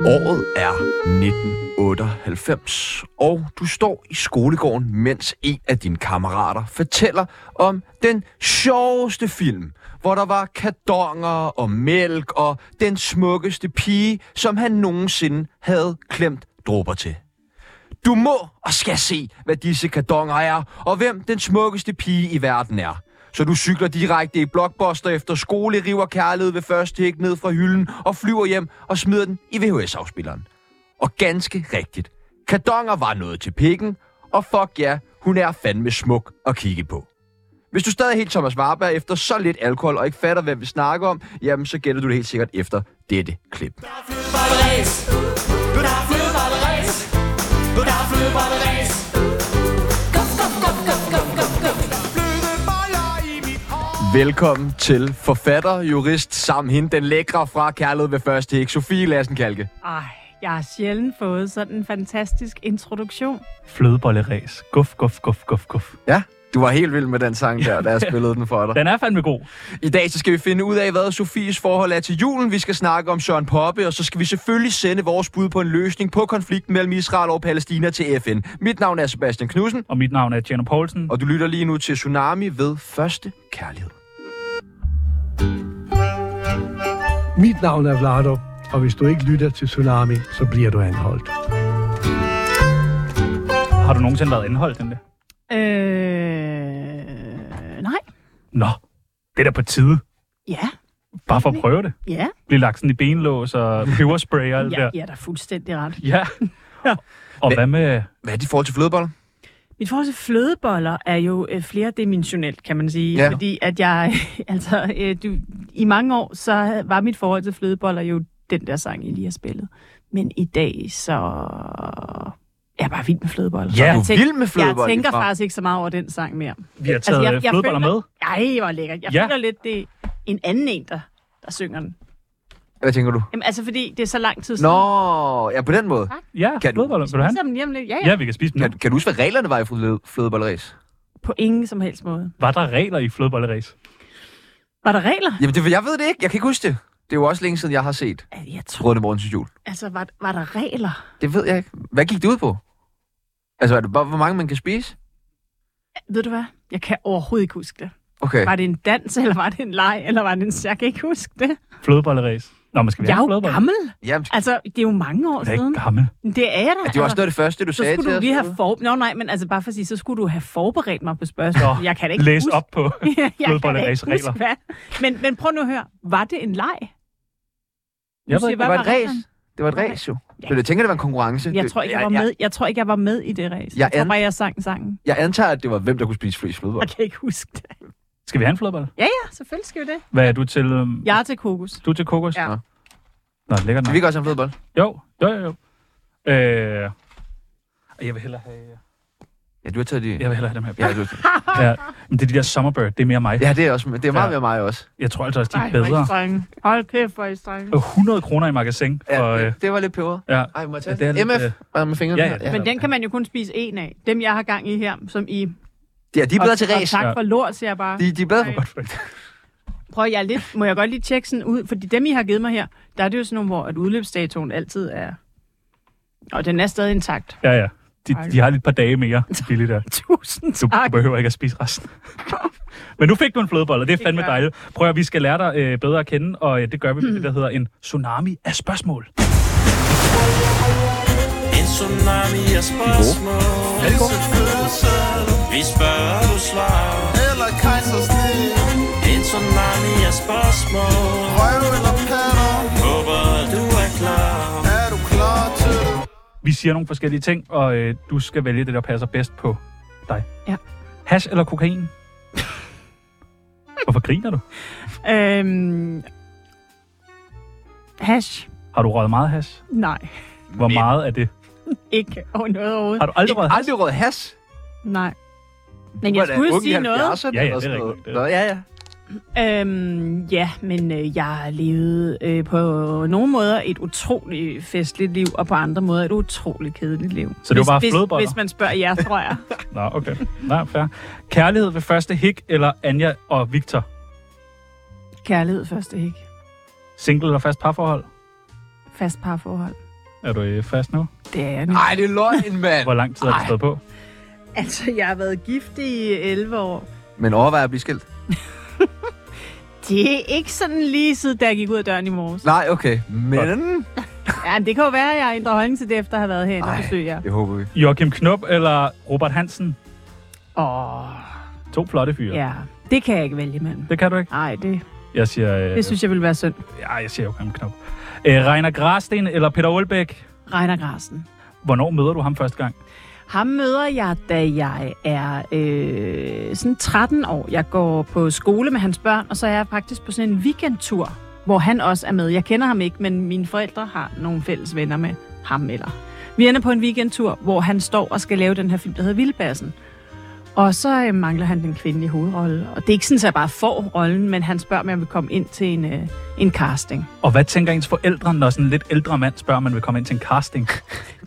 Året er 1998, og du står i skolegården, mens en af dine kammerater fortæller om den sjoveste film, hvor der var kadonger og mælk og den smukkeste pige, som han nogensinde havde klemt dråber til. Du må og skal se, hvad disse kardonger er, og hvem den smukkeste pige i verden er. Så du cykler direkte i blockbuster efter skole, river kærlighed ved første hæk ned fra hylden og flyver hjem og smider den i VHS-afspilleren. Og ganske rigtigt. Kardonger var noget til pikken, og fuck ja, hun er fandme smuk at kigge på. Hvis du stadig er helt Thomas Warberg efter så lidt alkohol og ikke fatter, hvad vi snakker om, jamen så gætter du det helt sikkert efter dette klip. Velkommen til forfatter, jurist, sammen hende, den lækre fra Kærlighed ved første hæk, Sofie Lassenkalke. Ej, jeg har sjældent fået sådan en fantastisk introduktion. Flødebolleræs. Guf, guf, guf, guf, guf. Ja, du var helt vild med den sang der, da jeg spillede den for dig. Den er fandme god. I dag så skal vi finde ud af, hvad Sofies forhold er til julen. Vi skal snakke om Søren Poppe, og så skal vi selvfølgelig sende vores bud på en løsning på konflikten mellem Israel og Palæstina til FN. Mit navn er Sebastian Knudsen, Og mit navn er Tjerno Poulsen. og du lytter lige nu til Tsunami ved Første Kærlighed. Mit navn er Vlado, og hvis du ikke lytter til Tsunami, så bliver du anholdt. Har du nogensinde været anholdt, den der? Øh, nej. Nå, det er da på tide. Ja, Bare for at prøve det. ja. Blive lagt sådan i benlås og peberspray og alt Ja, der. ja, der er fuldstændig ret. Ja. Og hvad med... Hvad er dit forhold til flødeboller? Mit forhold til flødeboller er jo øh, flerdimensionelt, kan man sige. Ja. Fordi at jeg, altså, øh, du, i mange år, så var mit forhold til flødeboller jo den der sang, I lige har spillet. Men i dag, så er jeg bare vild med flødeboller. Ja, jeg du er tænker- vild med flødeboller Jeg tænker ligefrem. faktisk ikke så meget over den sang mere. Vi har taget altså, jeg flødeboller føler- med. Ej, hvor lækkert. Jeg Ja. ja. føler lidt, det er en anden en, der, der synger den. Hvad tænker du? Jamen, altså, fordi det er så lang tid siden. Nå, ja på den måde. Ja, Kan du- flødeboller. Vil du have den? Så er den hjemme lidt. Ja, ja. Ja, vi kan spise dem. Kan, kan du huske, hvad reglerne var i fløde, flødebolleræs? På ingen som helst måde. Var der regler i flødebolleræs? Var der regler? Jamen, det, jeg ved det ikke. Jeg kan ikke huske det. Det er jo også længe siden, jeg har set Altså, Jeg tror, Røde Morgen til jul. altså, var, var der regler? Det ved jeg ikke. Hvad gik det ud på? Altså, er det bare, hvor mange man kan spise? Ved du hvad? Jeg kan overhovedet ikke huske det. Okay. Var det en dans, eller var det en leg, eller var det en... Jeg kan ikke huske det. Flødebolleræs. Nå, men skal vi Jeg er have jo flødeboller? gammel. Jamen, Altså, det er jo mange år Jeg er ikke siden. gammel. Det er jeg da. det var også noget af det første, du så sagde skulle til du lige os. have for... Nå, nej, men altså bare for at sige, så skulle du have forberedt mig på spørgsmålet. Nå, Jeg kan da ikke Læs huske. op på. jeg kan da Flødebolleræs ikke huske, regler. hvad. Men, men prøv nu at høre. Var det en leg? Jeg ved siger, ikke, hvad Det var et reglerne? race. Det var et race, jo. Ja. Så jeg tænker, det var en konkurrence. Jeg tror ikke, jeg var Jeg, med, jeg tror ikke, jeg var med i det race. Jeg, Jeg jeg tror an- bare, jeg sang sangen. jeg, jeg antager, at det var, hvem der kunne spise flest flødeboller. Jeg kan ikke huske det. Skal vi have en flødebolle? Ja, selvfølgelig skal vi det. Hvad er du til? øhm, Jeg er til kokos. Du er til kokos? Ja. Nå, lækkert Skal nok. vi ikke også have en flødebolle? Jo, jo, jo. jo. Øh, jeg vil hellere have, øh, Ja, du har taget de... jeg vil hellere have dem her. Ja, Ja. du... Ja. Men det er de der Summerbird, det er mere mig. ja det er også... Det er meget Ja. mere mig også. Jeg tror altså også, de er hvor I bedre. strenge. Hold kæft, hvor er I strenge. Og 100 kroner i magasin. Ja, For, øh, det- det var lidt peberet. ja. Ej, må jeg Ja, det tage er den? lidt, MF øh... med fingrene. ja, ja, her. det Men den kan man jo kun spise en af. Dem, jeg har gang i her, som I... Ja, de er bedre til og, og race. Ja. tak for lort, siger jeg bare. De, de er bedre for... Ej. Prøv, jeg er lidt, må jeg godt lige tjekke sådan ud, fordi dem, I har givet mig her, der er det jo sådan nogle, hvor at udløbsdatoen altid er... Og den er stadig intakt. ja, ja. De, de har lige et par dage mere billigt der. Tusind Du tak. behøver ikke at spise resten. Men nu fik du en flødebolle, og det er Det fandme gør jeg. dejligt. Prøv at vi skal lære dig øh, bedre at kende, og øh, det gør vi med det, Hmm. der hedder en tsunami af spørgsmål. En tsunami af spørgsmål Vi spørger, du svarer Eller kejsersnit En tsunami af spørgsmål Røv eller patter Håber, du er klar Er du klar til det? Vi siger nogle forskellige ting, og øh, du skal vælge det, der passer bedst på dig. Ja. Hash eller kokain? Hvorfor griner du? Øhm, hash? Har du røget meget hash? Nej, Hvor meget er det? ikke over noget overhovedet. Har du aldrig røget hash? Aldrig rød has. Nej. Men jeg skulle sige noget. Mm. Ja, ja, det er det rigtigt, det er Nå, ja, ja. Øhm, ja, men øh, jeg levede øh, på nogle måder et utroligt festligt liv, og på andre måder et utroligt kedeligt liv. Så det var bare hvis, flødeboller? Hvis, hvis man spørger jer, tror jeg. Nå, okay. Nå, fair. Kærlighed ved første hik eller Anja og Victor? Kærlighed først, ikke? Single eller fast parforhold? Fast parforhold. Er du øh, fast nu? Det er jeg nu. Ej, det er løgn, mand. Hvor lang tid har du Ej. stået på? Altså, jeg har været gift i 11 år. Men overvej at blive skilt. Det er ikke sådan lige siden, da jeg gik ud af døren i morges. Nej, okay. Men... Ja, men det kan jo være, at jeg ændrer holdning til det, efter at have været her og Ej, besøgt jer. det håber vi. Joachim Knop eller Robert Hansen? Åh, To flotte fyre. ja. Det kan jeg ikke vælge imellem. Det kan du ikke. Nej, det, Jeg siger... Øh, det synes jeg ville være synd. ja, jeg siger Joachim Knop. Øh, Reiner Grasten eller Peter Olbæk? Regner Grasen. Hvornår møder du ham første gang? Ham møder jeg, da jeg er øh, sådan 13 år. Jeg går på skole med hans børn, og så er jeg faktisk på sådan en weekendtur, hvor han også er med. Jeg kender ham ikke, men mine forældre har nogle fælles venner med ham eller. Vi ender på en weekendtur, hvor han står og skal lave den her film, der hedder Vildbassen. Og så øh, mangler han den kvindelige hovedrolle. Og det er ikke sådan, at jeg bare får rollen, men han spørger, om jeg vil komme ind til en, øh, en casting. Og hvad tænker ens forældre, når sådan en lidt ældre mand spørger, om man vil komme ind til en casting?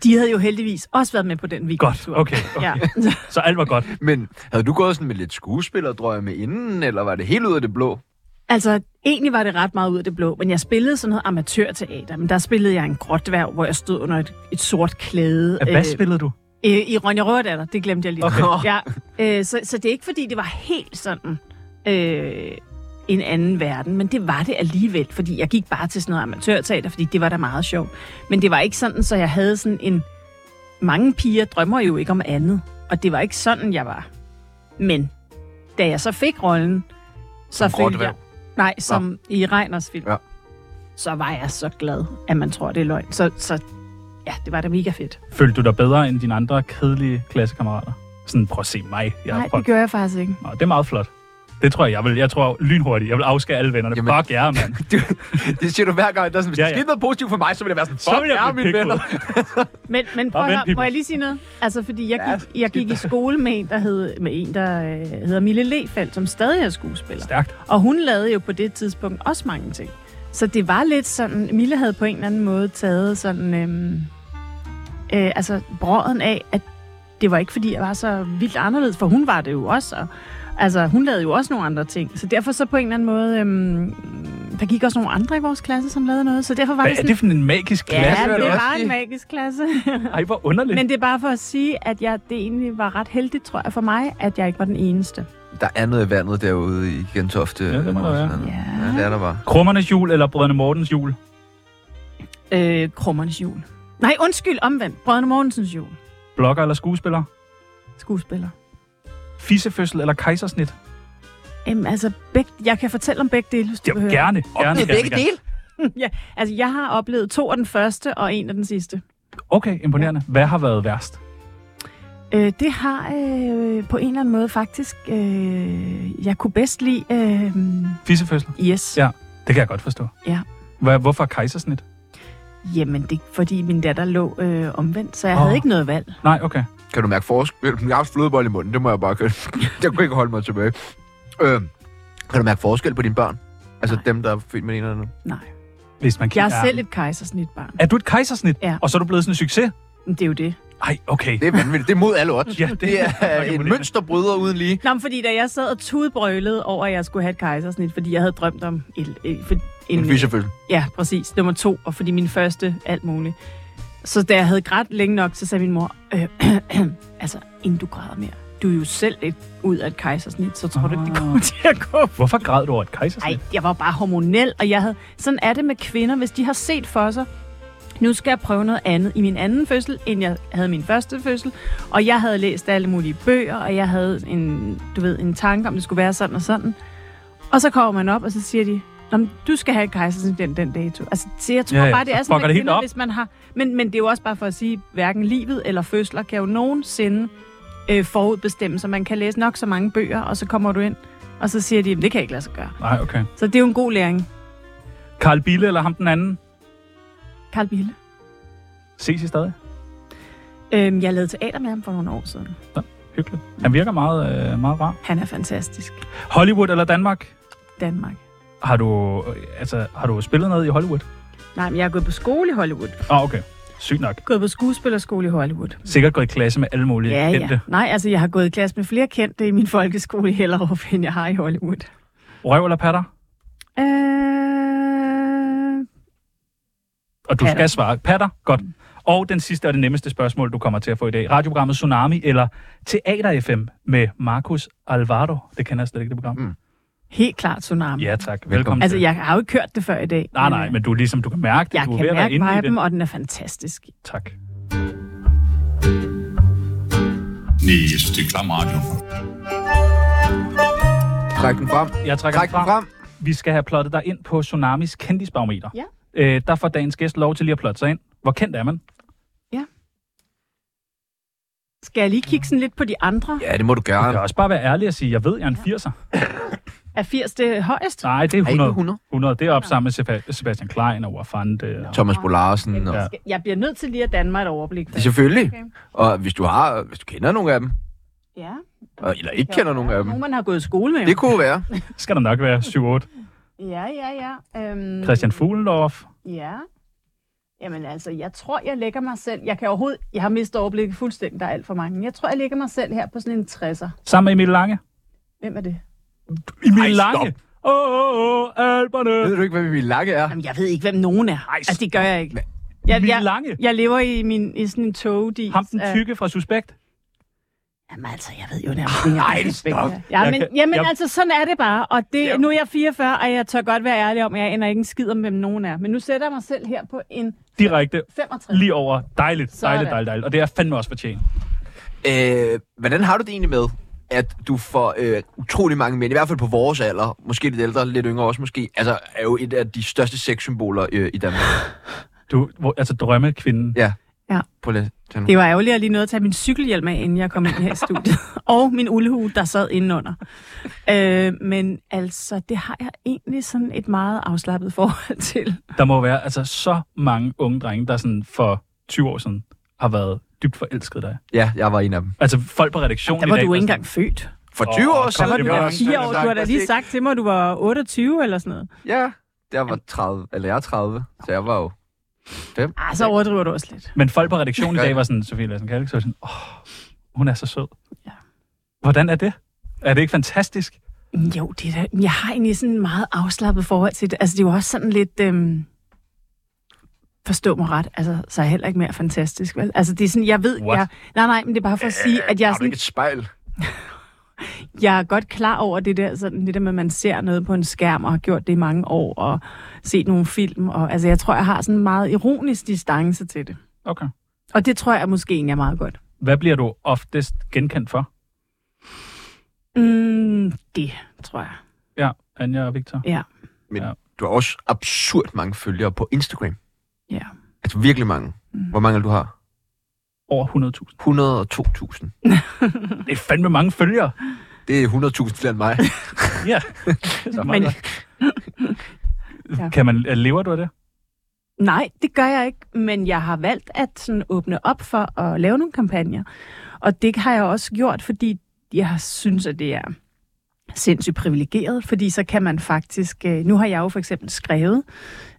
De havde jo heldigvis også været med på den Godt, weekendtur. okay. okay. Ja. Så alt var godt. Men havde du gået sådan med lidt skuespillerdrømme inden, eller var det helt ud af det blå? Altså, egentlig var det ret meget ud af det blå, men jeg spillede sådan noget amatørteater, men der spillede jeg en gråtværv, hvor jeg stod under et, et sort klæde. Hvad spillede du? Øh, I Ronja Rødatter, det glemte jeg lige. Okay. Ja, øh, så, så det er ikke, fordi det var helt sådan øh, en anden verden, men det var det alligevel, fordi jeg gik bare til sådan noget amatørteater, fordi det var da meget sjovt. Men det var ikke sådan, så jeg havde sådan en... Mange piger drømmer jo ikke om andet, og det var ikke sådan, jeg var. Men da jeg så fik rollen, så Som fik jeg... Rottweil? Nej, som ja. i Reiners film. Ja. Ja. Så var jeg så glad, at man tror, det er løgn. Så, så ja, det var da mega fedt. Følte du dig bedre end dine andre kedelige klassekammerater? Sådan, prøv at se mig. Jeg er Nej, fra- det gør jeg faktisk ikke. Nå, det er meget flot. Det tror jeg, jeg vil. Jeg tror lynhurtigt. Jeg vil afskære alle vennerne. Jamen. Jamen. Fuck jer, mand. Du, det siger du hver gang. Der er sådan, hvis ja, Ja, ja. ja. der skete noget positivt for mig, så ville jeg være sådan, Så fuck vil jeg jeg er blive mine venner. pikket. Men, men prøv Og at vent, høre, Pippi. må jeg lige sige noget? Altså, fordi jeg Ja, gik, jeg gik i skole med en, der hed, med en, der øh, hedder Mille Lefeldt, som stadig er skuespiller. Stærkt. Og hun lavede jo på det tidspunkt også mange ting. Så det var lidt sådan, Mille havde på en eller anden måde taget sådan, øhm, øh, altså brøden af, at det var ikke fordi, jeg var så vildt anderledes, for hun var det jo også. Og, altså, hun lavede jo også nogle andre ting. Så derfor så på en eller anden måde, øhm, der gik også nogle andre i vores klasse, som lavede noget. Så derfor var Hvad det er sådan, det for en magisk klasse? vil jeg ja, det da også var sige. en magisk klasse. Ej, hvor underligt. Men... Men det er bare for at sige, at jeg, det egentlig var ret heldigt, tror jeg, for mig, at jeg ikke var den eneste. Der er noget i vandet derude i Gentofte. Ja, det må der Eller være. sådan noget. Ja. ja det er der bare. Krummernes jul eller Brødrene Mortens jul? Øh, krummernes jul. Nej, undskyld, omvendt. Brødrene Mortensens jul. Blogger eller skuespiller? Skuespiller. Fissefødsel eller kejsersnit? Jamen, altså, beg, jeg kan fortælle om begge dele, hvis du Det er vil jo høre. gerne. gerne, gerne, gerne. ja, altså, jeg har oplevet to af den første, og en af den sidste. Okay, imponerende. Hvad har været værst? Øh, det har øh, på en eller anden måde faktisk... Øh, jeg kunne bedst lide... Øh, Fissefødsel? yes. Ja. Det kan jeg godt forstå. Ja. Hva- Hvorfor kejsersnit? Jamen, det er fordi min datter lå øh, omvendt, så jeg Åh. havde ikke noget valg. Nej, okay. Kan du mærke forskel? Jeg har haft flødebold i munden, det må jeg bare køre. jeg kunne ikke holde mig tilbage. Øh, kan du mærke forskel på dine børn? Altså Nej. dem, der er født med en eller anden. Nej. Hvis man Jeg kigger- er selv et kejsersnitbarn. Er du et kejsersnit? Ja. Og så er du blevet sådan en succes? Men Det er jo det. Ej, okay. Det er vanvittigt. Det er mod alle odds. Ja, det det er er nok en imponerende. mønsterbryder uden lige. Nå, men fordi da jeg sad og tudbrølede over, at jeg skulle have et kejsersnit, fordi jeg havde drømt om et, et, for, En øh, fissefødsel. Ja, præcis. Nummer to, og fordi min første alt muligt. Så da jeg havde grædt længe nok, så sagde min mor, øh, altså, inden du græder mere, du er jo selv et, ud af et kejsersnit, så tror du ikke, det kommer til at gå Hvorfor græd du over et kejsersnit? Nej, jeg var bare hormonel, og jeg havde... Sådan er det med kvinder, hvis de har set for sig, nu skal jeg prøve noget andet i min anden fødsel, end jeg havde min første fødsel. Og jeg havde læst alle mulige bøger, og jeg havde en, du ved, en tanke om, det skulle være sådan og sådan. Og så kommer man op, og så siger de, Nå, men du skal have et kejsersnit den, den dato. Altså, så jeg tror Ja, ja, bare, det så er sådan, fucker med det helt kvinder, op. hvis man har... Men, men det er jo også bare for at sige, hverken livet eller fødsler kan jo nogensinde øh, forudbestemme, så man kan læse nok så mange bøger, og så kommer du ind, og så siger de, "Jamen, det kan jeg ikke lade sig gøre. Nej, okay. Så det er jo en god læring. Karl Bille eller ham den anden? Carl Bille. Ses I stadig? Øhm, jeg lavede teater med ham for nogle år siden. Hyggeligt. Han virker meget, øh, meget rar. Han er fantastisk. Hollywood eller Danmark? Danmark. Har du, øh, altså, har du spillet noget i Hollywood? Nej, men jeg er gået på skole i Hollywood. Ah, okay. Sygt nok. Gået på skuespillerskole i Hollywood. Sikkert gået i klasse med alle mulige Ja, kendte. ja. Nej, altså jeg har gået i klasse med flere kendte i min folkeskole i Hellerup, end jeg har i Hollywood. Røv eller patter? Øh... og du Patter. Mm. skal svare patter. Godt. Og den sidste og det nemmeste spørgsmål, du kommer til at få i dag. Radioprogrammet Tsunami eller Teater FM med Markus Alvaro. Det kender jeg slet ikke, det program. Mm. Helt klart tsunami. Ja, tak. Velkommen Altså, til. jeg har jo ikke hørt det før i dag. Nej, nej, men du, ligesom, du kan mærke det. Jeg du er ved kan at være mærke inde i viben, det. og den er fantastisk. Tak. Nee, ich stehe klar im Radio. Træk den frem. Jeg trækker Træk den frem. den frem. Vi skal have plottet dig ind på Tsunamis kendisbarometer. Ja. Øh, der får dagens gæst lov til lige at plotte sig ind. Hvor kendt er man? Skal jeg lige kigge sådan lidt på de andre? Ja, det må du Du gøre. kan også bare være ærlig og sige, jeg ved, jeg er en 80'er. Er 80 det højest? Nej, det er Er I 100. på 100? 100. Det er op sammen med Sefa- Sebastian Klein og Wafand. Øh, Thomas Bolarsen. Og... Ja. Skal- Jeg bliver nødt til lige at danne mig et overblik. Det er selvfølgelig. Okay. Og hvis du har, hvis du kender nogle af dem, Ja. og- eller ikke kender nogen af dem, Nogen, man har gået i skole med. det kunne være. skal der nok være 7-8. Mm. Ja, ja, ja. Øhm, Christian Fuglendorf. Ja. Jamen altså, jeg tror, jeg lægger mig selv... Jeg kan overhovedet... Jeg har mistet overblikket fuldstændig, der er alt for mange. Jeg tror, jeg lægger mig selv her på sådan en 60'er. Sammen med Emil Lange. Hvem er det? Emil Ej, stop. Lange! Åh, åh, åh, alberne! Ved du ikke, hvad vi Lange er? Jamen, jeg ved ikke, hvem nogen er. Ej, altså, det gør jeg ikke. Jeg, Emil jeg, Lange! jeg lever i, min, i sådan en togdis. Ham den af- tykke fra Suspekt. Jamen altså, jeg ved jo nærmest ikke, Ej, stop. Ja, Jeg men, kan- jamen jeg- altså, sådan er det bare. Og det, Ja. nu er jeg 44, og jeg tør godt være ærlig om, at jeg ender ikke en skid om, hvem nogen er. Men nu sætter jeg mig selv her på en Direkte. 65. Lige over. Dejligt, Sådan. dejligt, dejligt, dejligt. Og det er fandme også fortjent. Øh, hvordan har du det egentlig med, at du får øh, utrolig mange mænd, i hvert fald på vores alder, måske lidt ældre, lidt yngre også måske, altså er jo et af de største sexsymboler øh, i Danmark. Du, hvor, altså drømmekvinden. Ja. Ja. Prøv lige at tage nu. Det var ærgerligt at lige nødt til at tage min cykelhjelm af, inden jeg kom ind her i studiet. og min uldhue, der sad indenunder. Øh, men altså, det har jeg egentlig sådan et meget afslappet forhold til. Der må være altså så mange unge drenge, der sådan for 20 år siden har været dybt forelsket i dig. Ja, jeg var en af dem. Altså folk på redaktionen Der var i dag, du var ikke sådan, engang født. For Åh, 20 år kom, siden. det var var også Fire år, du har da lige sagt til mig, at du var 28 eller sådan noget. Ja, der var 30, eller jeg er 30, så jeg var jo... Ah, så overdriver du også lidt. Men folk på redaktionen i dag var sådan, Sofie Lassen Kalk, så var sådan, åh, hun er så sød. Ja. Hvordan er det? Er det ikke fantastisk? Jo, det er da, jeg har egentlig sådan en meget afslappet forhold til det. Altså, det er jo også sådan lidt... Øhm, forstå mig ret, altså, så er jeg heller ikke mere fantastisk, vel? Altså, det er sådan, jeg ved... What? Øh, Jeg, nej, nej, men det er bare for at sige, at jeg er Har du sådan... ikke et spejl? jeg er godt klar over det der, sådan det der med, at man ser noget på en skærm, og har gjort det i mange år, og set nogle film. Og, altså, jeg tror, jeg har sådan en meget ironisk distance til det. Okay. Og det tror jeg måske egentlig er meget godt. Hvad bliver du oftest genkendt for? Mm, det tror jeg. Ja, Anja og Victor. Ja. Men Ja. du har også absurd mange følgere på Instagram. Ja. Mm. Altså virkelig mange. Hvor mange er det, du har? Over 100.000. 102.000. Det er fandme mange følgere. Det er 100.000 flere end mig. Ja. Men, kan man, øh, lever du af det? nej, det gør jeg ikke, men jeg har valgt at sådan åbne op for at lave nogle kampagner. Og det har jeg også gjort, fordi jeg synes, at det er sindssygt privilegeret, fordi så kan man faktisk... øh, Nu har jeg jo for eksempel skrevet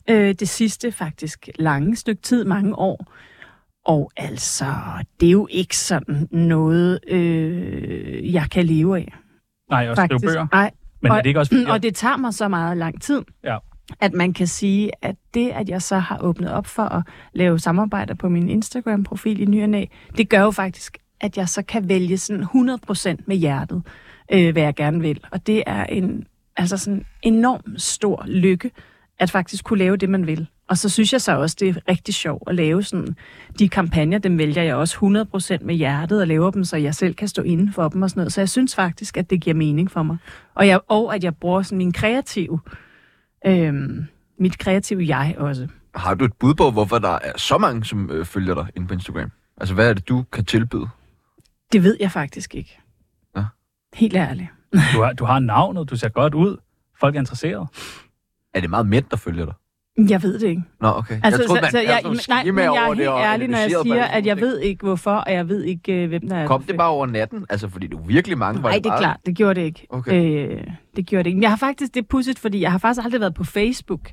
øh, det sidste faktisk lange stykke tid, mange år. Og altså, det er jo ikke sådan noget, øh, jeg kan leve af. Nej, og skrive Faktisk. bøger. Nej, Men er det ikke også fordi, og det tager mig så meget lang tid, Ja. at man kan sige, at det, at jeg så har åbnet op for at lave samarbejder på min Instagram-profil i ny og Næ, det gør jo faktisk, at jeg så kan vælge sådan 100% med hjertet, øh, hvad jeg gerne vil. Og det er en altså sådan enorm stor lykke, at faktisk kunne lave det, man vil. Og så synes jeg så også, det er rigtig sjovt at lave sådan de kampagner, dem vælger jeg også 100% med hjertet og laver dem, så jeg selv kan stå inden for dem og sådan noget. Så jeg synes faktisk, at det giver mening for mig. Og, jeg, og at jeg bruger sådan min kreative, øhm, mit kreative jeg også. Har du et bud på, hvorfor der er så mange, som øh, følger dig inde på Instagram? Altså, hvad er det, du kan tilbyde? Det ved jeg faktisk ikke. Nå. Helt ærligt. du, har, du har navnet, du ser godt ud. Folk er interesseret. Er det meget mænd, der følger dig? Jeg ved det ikke. Nå, okay. Altså, jeg troede, man, så, jeg, jeg, sådan nogle nej, men skemaer jeg over er det, og helt ærlig, når jeg analyserede på siger, alle at jeg mulige ved ikke hvorfor, og jeg ved ikke, øh, hvem der er... ting. Kom det bare over natten? Altså, fordi det er virkelig mange. var Nej, det er bare- klart. Det gjorde det ikke. Okay. Øh, det gjorde det ikke. Men jeg har faktisk, det er pudsigt, fordi jeg har faktisk aldrig været på Facebook.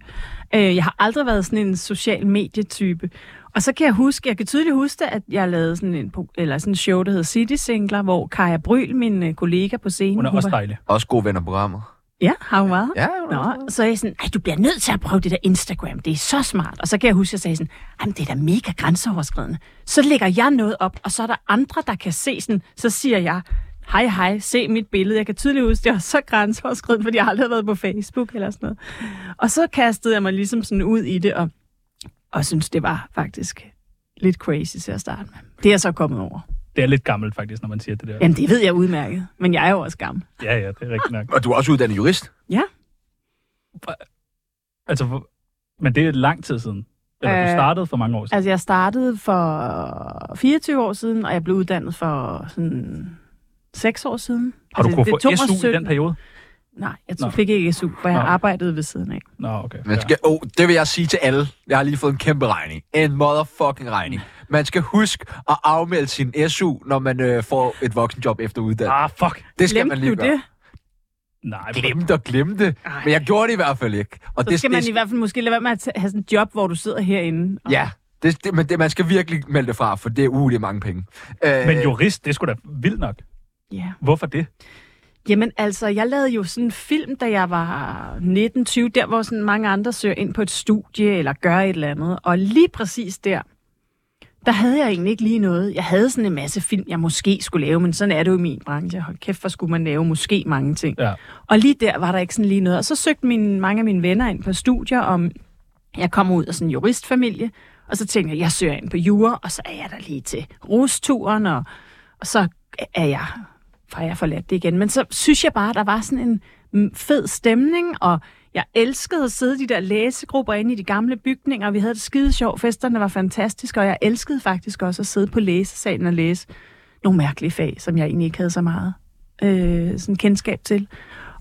Øh, jeg har aldrig været sådan en social medietype. Og så kan jeg huske, jeg kan tydeligt huske, at jeg lavede sådan en, pro- eller sådan en show, der hedder City Singler, hvor Kaja Bryl, min øh, kollega på scenen... Hun er hun også var- dejlig. Også gode venner på programmet. Ja, har hun været? Ja, hun har Nå, så er jeg sådan, Ej, du bliver nødt til at prøve det der Instagram, det er så smart. Og så kan jeg huske, at jeg sagde sådan, jamen det er da mega grænseoverskridende. Så lægger jeg noget op, og så er der andre, der kan se sådan, så siger jeg, hej hej, se mit billede. Jeg kan tydeligt huske, det var så grænseoverskridende, fordi jeg aldrig har været på Facebook eller sådan noget. Og så kastede jeg mig ligesom sådan ud i det, og, og synes det var faktisk lidt crazy til at starte med. Det er jeg så kommet over. Det er lidt gammelt faktisk, når man siger det der. Jamen, det ved jeg udmærket, men jeg er jo også gammel. Ja, ja, det er rigtigt nok. Og du er også uddannet jurist. Ja. Altså, hvor- men det er lang tid siden. Eller du Øh, startede for mange år siden. Altså, jeg startede for 24 år siden, og jeg blev uddannet for sådan 6 år siden. Har du altså, kunnet det få tog mig SU i den sytten- periode? Nej, jeg Nå. tog, fik ikke SU, for jeg Nå. arbejdede ved siden af. Nå, okay. Man skal, oh, det vil jeg sige til alle. Jeg har lige fået en kæmpe regning. En motherfucking regning. Man skal huske at afmelde sin SU, når man øh, får et voksenjob efter Ja. uddannelse. Ah, fuck. Det skal Glemte man lige du gøre. det? Nej, Glemte og glemte. Ej. Men jeg gjorde det i hvert fald ikke. Og Så skal man i hvert fald måske lade være med at tage- have sådan et job, hvor du sidder herinde. Og, Ja, det, det, men det, man skal virkelig melde det fra, for det er uh, det er mange penge. Øh, men jurist, det skulle sgu da vildt nok. ja. Hvorfor det? Jamen altså, jeg lavede jo sådan en film, da jeg var 19-20, der hvor sådan mange andre søger ind på et studie eller gør et eller andet. Og lige præcis der, der havde jeg egentlig ikke lige noget. Jeg havde sådan en masse film, jeg måske skulle lave, men sådan er det jo i min branche. Hold kæft, hvor skulle man lave måske mange ting. Ja. Og lige der var der ikke sådan lige noget. Og så søgte mine, mange af mine venner ind på studier om, jeg kommer ud af sådan en juristfamilie, og så tænker jeg, jeg søger ind på jura, og så er jeg der lige til rusturen, og, og så er jeg, fra jeg forladt det igen. Men så synes jeg bare, der var sådan en mm, fed stemning, og jeg elskede at sidde i de der læsegrupper inde i de gamle bygninger, og vi havde det skide sjovt, festerne var fantastiske, og jeg elskede faktisk også at sidde på læsesalen og læse nogle mærkelige fag, som jeg egentlig ikke havde så meget øh, sådan kendskab til.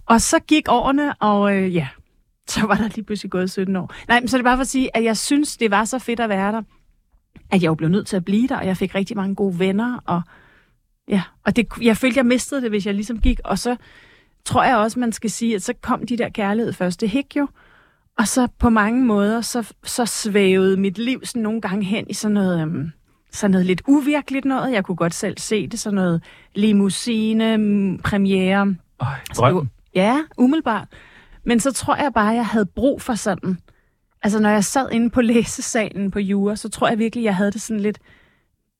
Og så gik årene, og øh, ja, så var der lige pludselig gået 17 år. Nej, men så er det bare for at sige, at jeg synes, det var så fedt at være der, at jeg jo blev nødt til at blive der, og jeg fik rigtig mange gode venner, og ja, og det, jeg følte, jeg mistede det, hvis jeg ligesom gik, og så tror jeg også, man skal sige, at så kom de der kærlighed første hæk jo, og så på mange måder, så, så svævede mit liv sådan nogle gange hen i sådan noget, øhm, sådan noget lidt uvirkeligt noget. Jeg kunne godt selv se det, sådan noget limousine, mm, premiere, Øj, drømmen. Ja, umiddelbart. Men så tror jeg bare, at jeg havde brug for sådan. Altså, når jeg sad inde på læsesalen på Jura, så tror jeg virkelig, jeg havde det sådan lidt...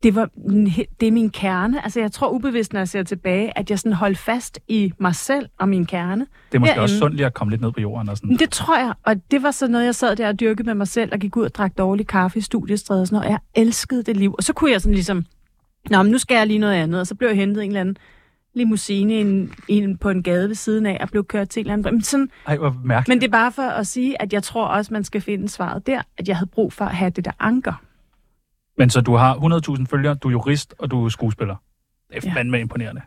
Det, var, min he- det er min kerne. Altså, jeg tror ubevidst, når jeg ser tilbage, at jeg sådan holdt fast i mig selv og min kerne. Det er måske herinde. også sundt lige at komme lidt ned på jorden og sådan. Men det tror jeg, og det var sådan noget, jeg sad der og dyrkede med mig selv, og gik ud og drak dårlig kaffe i studiestrædet og sådan noget. Jeg elskede det liv. Og så kunne jeg sådan ligesom, nå, men nu skal jeg lige noget andet, og så blev jeg hentet i en eller anden limousine ind, ind på en gade ved siden af, og blev kørt til en eller anden... Men sådan, Ej, hvor mærkeligt. men det er bare for at sige, at jeg tror også, man skal finde svaret der, at jeg havde brug for at have det der anker. Men så du har 100.000 følgere, du er jurist, og du er skuespiller. Det er Ja. fandme imponerende.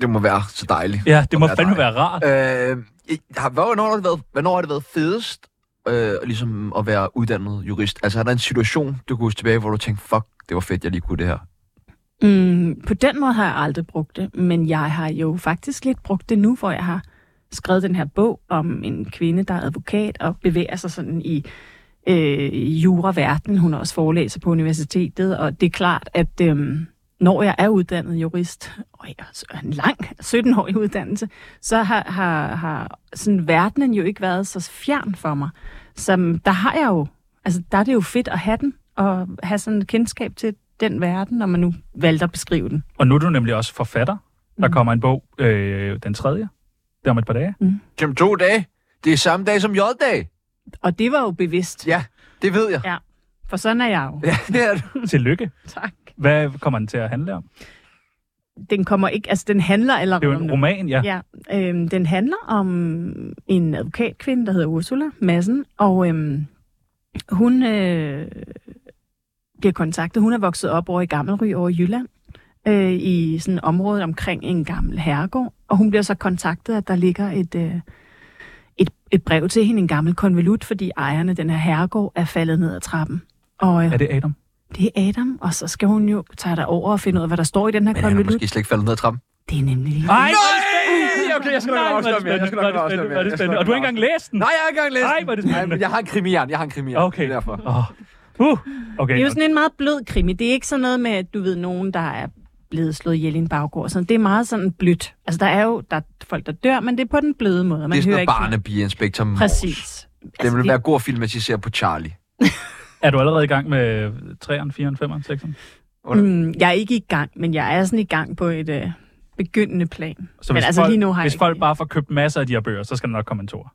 Det må være så dejligt. Ja, det må Og er fandme dig. være rart. Øh, jeg har- hvornår, har det været, hvornår har det været fedest øh, ligesom at være uddannet jurist? Altså er der en situation, du kan huske tilbage, hvor du tænkte, fuck, det var fedt, jeg lige kunne det her? Mm, på den måde har jeg aldrig brugt det, men jeg har jo faktisk lidt brugt det nu, hvor jeg har skrevet den her bog om en kvinde, der er advokat og bevæger sig sådan i øh, juraverdenen. Hun er også forelæser på universitetet, og det er klart, at øh, når jeg er uddannet jurist, og jeg er en lang 17-årig uddannelse, så har, har, har sådan verdenen jo ikke været så fjern for mig. Så der har jeg jo, altså der er det jo fedt at have den, og have sådan et kendskab til den verden, når man nu valgte at beskrive den. Og nu er du nemlig også forfatter. Der Mm. kommer en bog øh, den tredje. Det er om et par dage. Jamen to dage. Det er samme dag som J-dag. Og det var jo bevidst, Ja, det ved jeg. Ja. for sådan er jeg jo. Ja, det er det. Tillykke. Tak. Hvad kommer den til at handle om? Den kommer ikke, altså den handler eller Det er jo en roman, ja. Ja, øhm, den handler om en advokatkvinde, der hedder Ursula Madsen, og øhm, hun øh, bliver kontaktet. Hun er vokset op over i Gammelry over i Jylland, øh, i sådan et område omkring en gammel herregård, og hun bliver så kontaktet, at der ligger et, øh, et, et brev til hende, en gammel konvolut, fordi ejeren af den her herregård er faldet ned ad trappen. Og øh, Er det Adam? det er Adam, og så skal hun jo tage dig over og finde ud af, hvad der står i den her Men han er konvolut. måske slet ikke faldet ned ad trappen. Det er nemlig lige Nej! Okay, jeg skal nok afsløre mere. Jeg skal nok afsløre mere. Var Jeg det skal spændende? nok Og du har ikke engang læst den? Nej, jeg har ikke engang læst Ej, den. hvor er det Nej, spændende. men Jeg har en krimihjern. Jeg har en krimihjern. Okay. Det er derfor. Åh. Uh, okay. Det er jo sådan en meget blød krimi. Det er ikke sådan noget med, at du ved, nogen, der er blevet slået ihjel i en baggård. Sådan, det er meget sådan blødt. Altså, der er jo der er folk, der dør, men det er på den bløde måde. Man det er sådan hører noget ikke barnebieinspektor Morse. Præcis. Den Altså, vil det- være god at filmatisere på Charlie. Er du allerede i gang med 3'eren, 4'eren, 5'eren, 6'eren? Mm, jeg er ikke i gang, men jeg er sådan i gang på et øh, begyndende plan. Så Men hvis altså, folk, lige nu har jeg hvis ikke- folk bare får købt masser af de her bøger, så skal der nok komme en tor.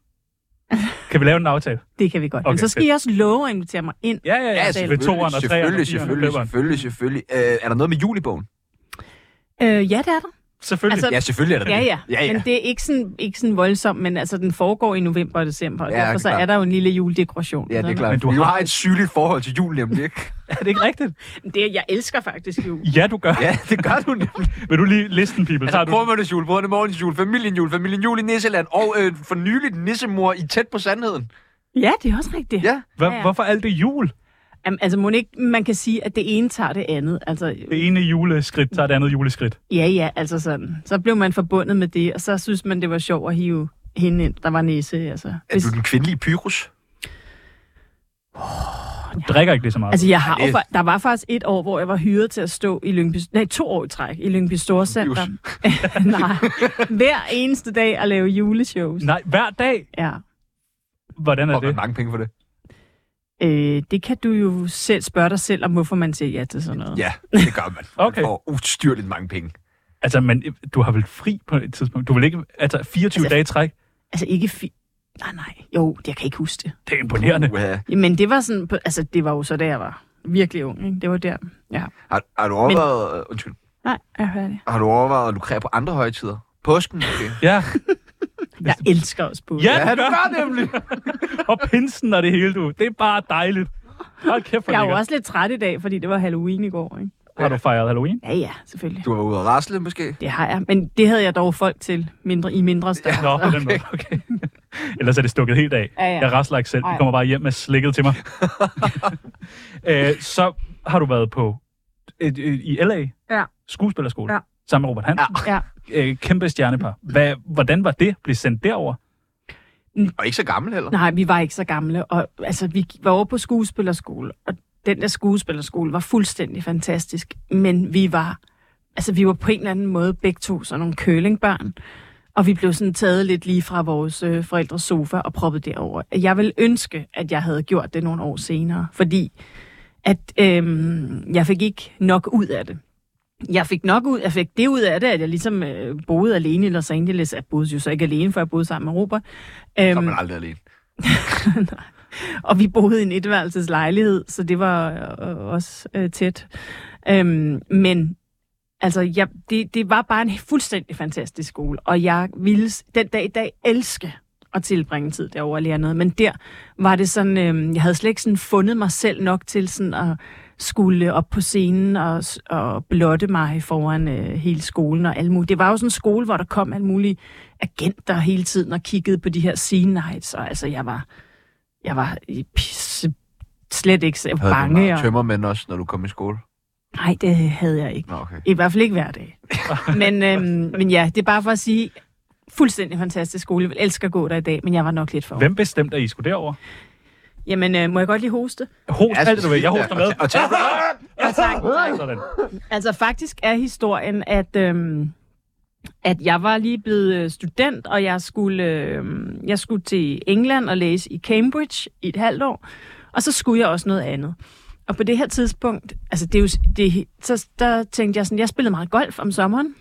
kan vi lave en aftale? Det kan vi godt. Okay, Okay, men så skal fedt. I også love at invitere mig ind. Ja, ja, ja. Ja, Ved toeren og treeren og selvfølgelig, fireren og selvfølgelig, femeren. selvfølgelig, selvfølgelig. Øh, er der noget med julebogen? Øh, ja, det er der. Selvfølgelig. Altså- Ja, selvfølgelig er der Ja, det. ja. ja, ja. Men det er ikke sådan, ikke sådan voldsomt, men altså, den foregår i november og december, og Ja, ja, derfor det er så er klart. der jo en lille juledekoration. Ja, det er klart. Men du du har har- et sygeligt forhold til jul nemlig, ikke? Er det ikke rigtigt? Det, jeg elsker faktisk jul. Ja, du gør. ja, det gør du nemlig. Vil du lige listen, people? Altså, Tager du... brødmødtes jul, brødrene morgens jul, familien jul, familien jul i Nisseland, og øh, for nyligt nissemor i Tæt på Sandheden. Ja, det er også rigtigt. Ja. Hva- Ja, ja. Hvorfor alt det jul? Jamen, altså, må ikke, man kan sige, at det ene tager det andet. Altså, Det ene juleskridt tager det andet juleskridt. ja, ja, altså sådan. Så blev man forbundet med det, og så synes man, det var sjovt at hive hende ind, der var næse. Altså, Er du den kvindelige pyrus? Du drikker ikke lige så meget. Altså, jeg har det- jo, fa- der var faktisk et år, hvor jeg var hyret til at stå i Lyngby... Nej, to år i træk i Lyngby Storcenter. Nej. Hver eneste dag at lave juleshows. Nej, hver dag. Ja. Hvordan er Og det? mange penge for det. Øh, det kan du jo selv spørge dig selv om, hvorfor man siger ja til sådan noget. Ja, det gør man. Okay. Og ustyrligt mange penge. Altså, men øh, du har vel fri på et tidspunkt? Du vil ikke... Altså, 24 Altså- dage i træk? Altså ikke fi... Nej, nej. Jo, jeg kan ikke huske det. Det er imponerende. Uha. Men det var sådan... på- Altså, det var jo så, da jeg var virkelig ung. Ikke? Det var der. Ja. Har, har du overvejet... Men... Undskyld. Nej, jeg hører det. Har du overvejet at lukrere på andre højtider? Påsken måske? Ja, Jeg elsker også på. ja, ja, ja du du gør nemlig. og pinsen og det hele, du. Det er bare dejligt. Hold kæft, for Jeg er jo lækkert. også lidt træt i dag, fordi det var Halloween i går. Ikke? Har du fejret Halloween? Ja, ja, selvfølgelig. Du var ude og rasle måske? Det har jeg. Men det havde jeg dog folk til mindre, i mindre størrelse. Nå, på den måde. Okay. Ellers er det stukket helt af. Ja, ja. Jeg rasler ikke selv. Ej. De kommer bare hjem med slikket til mig. Æ, så har du været på øh, øh, i LA Ja. skuespillerskole Ja. sammen med Robert Hansen. Ja. Æ, kæmpe stjernepar. Hvad, hvordan var det? Blev sendt derover? Og ikke så gammel heller. Nej, vi var ikke så gamle. Og, altså, vi gik- var over på skuespillerskole, og den der skuespillerskole var fuldstændig fantastisk. Men vi var, altså, vi var på en eller anden måde begge to sådan nogle kølingbørn. Og vi blev sådan taget lidt lige fra vores øh, forældres sofa og proppet derover. Jeg vil ønske, at jeg havde gjort det nogle år senere, fordi at øhm, jeg fik ikke nok ud af det. Jeg fik nok ud, jeg fik det ud af det, at jeg ligesom øh, boede alene i Los Angeles. Jeg boede jo så ikke alene, for jeg boede sammen med Robert. Øhm, Så er man aldrig alene. og vi boede i en etværelses lejlighed, så det var øh, også øh, tæt. Øhm, men altså, jeg, det, det var bare en fuldstændig fantastisk skole, og jeg ville s- den dag i dag elske at tilbringe tid derovre og lære noget. Men der var det sådan, øh, jeg havde slet ikke sådan fundet mig selv nok til sådan at skulle op på scenen og, s- og blotte mig foran øh, hele skolen og alt muligt. Det var jo sådan en skole, hvor der kom alle mulige agenter hele tiden og kiggede på de her scene nights, og altså jeg var, jeg var i pisse, slet ikke så Havde du bange. meget Og, tømmermænd også, når du kom i skole? nej, det havde jeg ikke. Nå, okay. I hvert fald ikke hver dag. men, øhm, men ja, det er bare for at sige, fuldstændig fantastisk skole. Jeg vil elske at gå der i dag, men jeg var nok lidt for ung. Hvem bestemte, at I skulle derover? Jamen, øh, må jeg godt lige hoste? Host alt, du vil. Jeg Ja, hoster med. Og, og tag- Ja, tak. Sådan. Altså, faktisk er historien, at, øhm, at jeg var lige blevet øh, student, og jeg skulle, øhm, jeg skulle til England og læse i Cambridge i et halvt år, og så skulle jeg også noget andet. Og på det her tidspunkt, altså det er jo, s- det, er he- så der tænkte jeg sådan, jeg spillede meget golf om sommeren,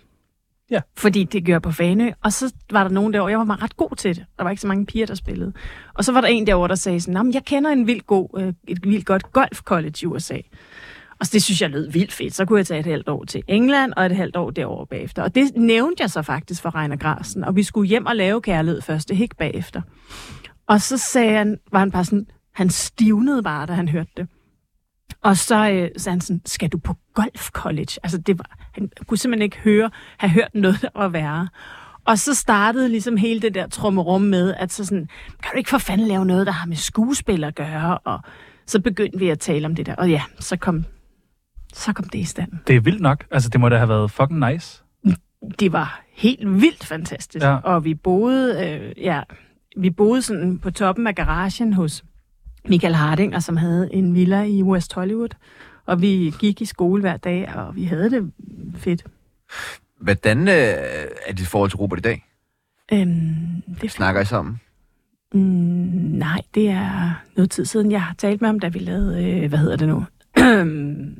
Ja. fordi det gør jeg på Fanø, og så var der nogen derovre, jeg var meget ret god til det, der var ikke så mange piger, der spillede. Og så var der en derovre, der sagde sådan, "Nå, men jeg kender en vildt god, øh, et vildt godt golfcollege i USA. Og så det synes jeg lød vildt fedt. Så kunne jeg tage et halvt år til England og et halvt år derovre bagefter. Og det nævnte jeg så faktisk for Reiner Grasen, og vi skulle hjem og lave kærlighed første hæk bagefter. Og så sagde han, var han bare sådan, han stivnede bare, da han hørte det. Og så øh, sagde han sådan, skal du på Golf College? Altså, det var, han kunne simpelthen ikke høre, have hørt noget, der var værre. Og så startede ligesom hele det der trummerum med, at så sådan, kan du ikke for fanden lave noget, der har med skuespil at gøre? Og så begyndte vi at tale om det der. Og ja, så kom, så kom det i stand. Det er vildt nok. Altså, det må da have været fucking nice. det var helt vildt fantastisk. Ja. Ja. Og vi boede, øh, ja, vi boede sådan på toppen af garagen hos Michael Hardinger, som havde en villa i West Hollywood. Og vi gik i skole hver dag, og vi havde det Fedt. Hvordan øh, er dit forhold til Robert i dag? Øhm, det er Snakker I sammen? Mm, nej, det er noget tid siden, jeg har talt med ham, da vi lavede, øh, hvad hedder det nu?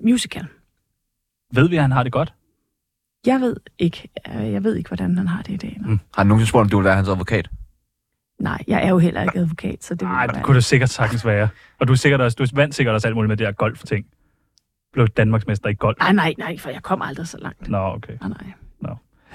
musical. Ved vi, at han har det godt? Jeg ved ikke, øh, jeg ved ikke, hvordan han har det i dag. Mm. Har han nogensinde spurgt, om du vil være hans advokat? Nej, jeg er jo heller ikke advokat, så det vil Nej, være- det kunne det sikkert sagtens være. Og du, er sikkert også, du vandt sikkert også alt muligt med det her golf-ting. Blev Danmarksmester i golf. Ah, Nej, nej, nej, for jeg kom aldrig så langt. Ah, Nå, okay. Nej, nej.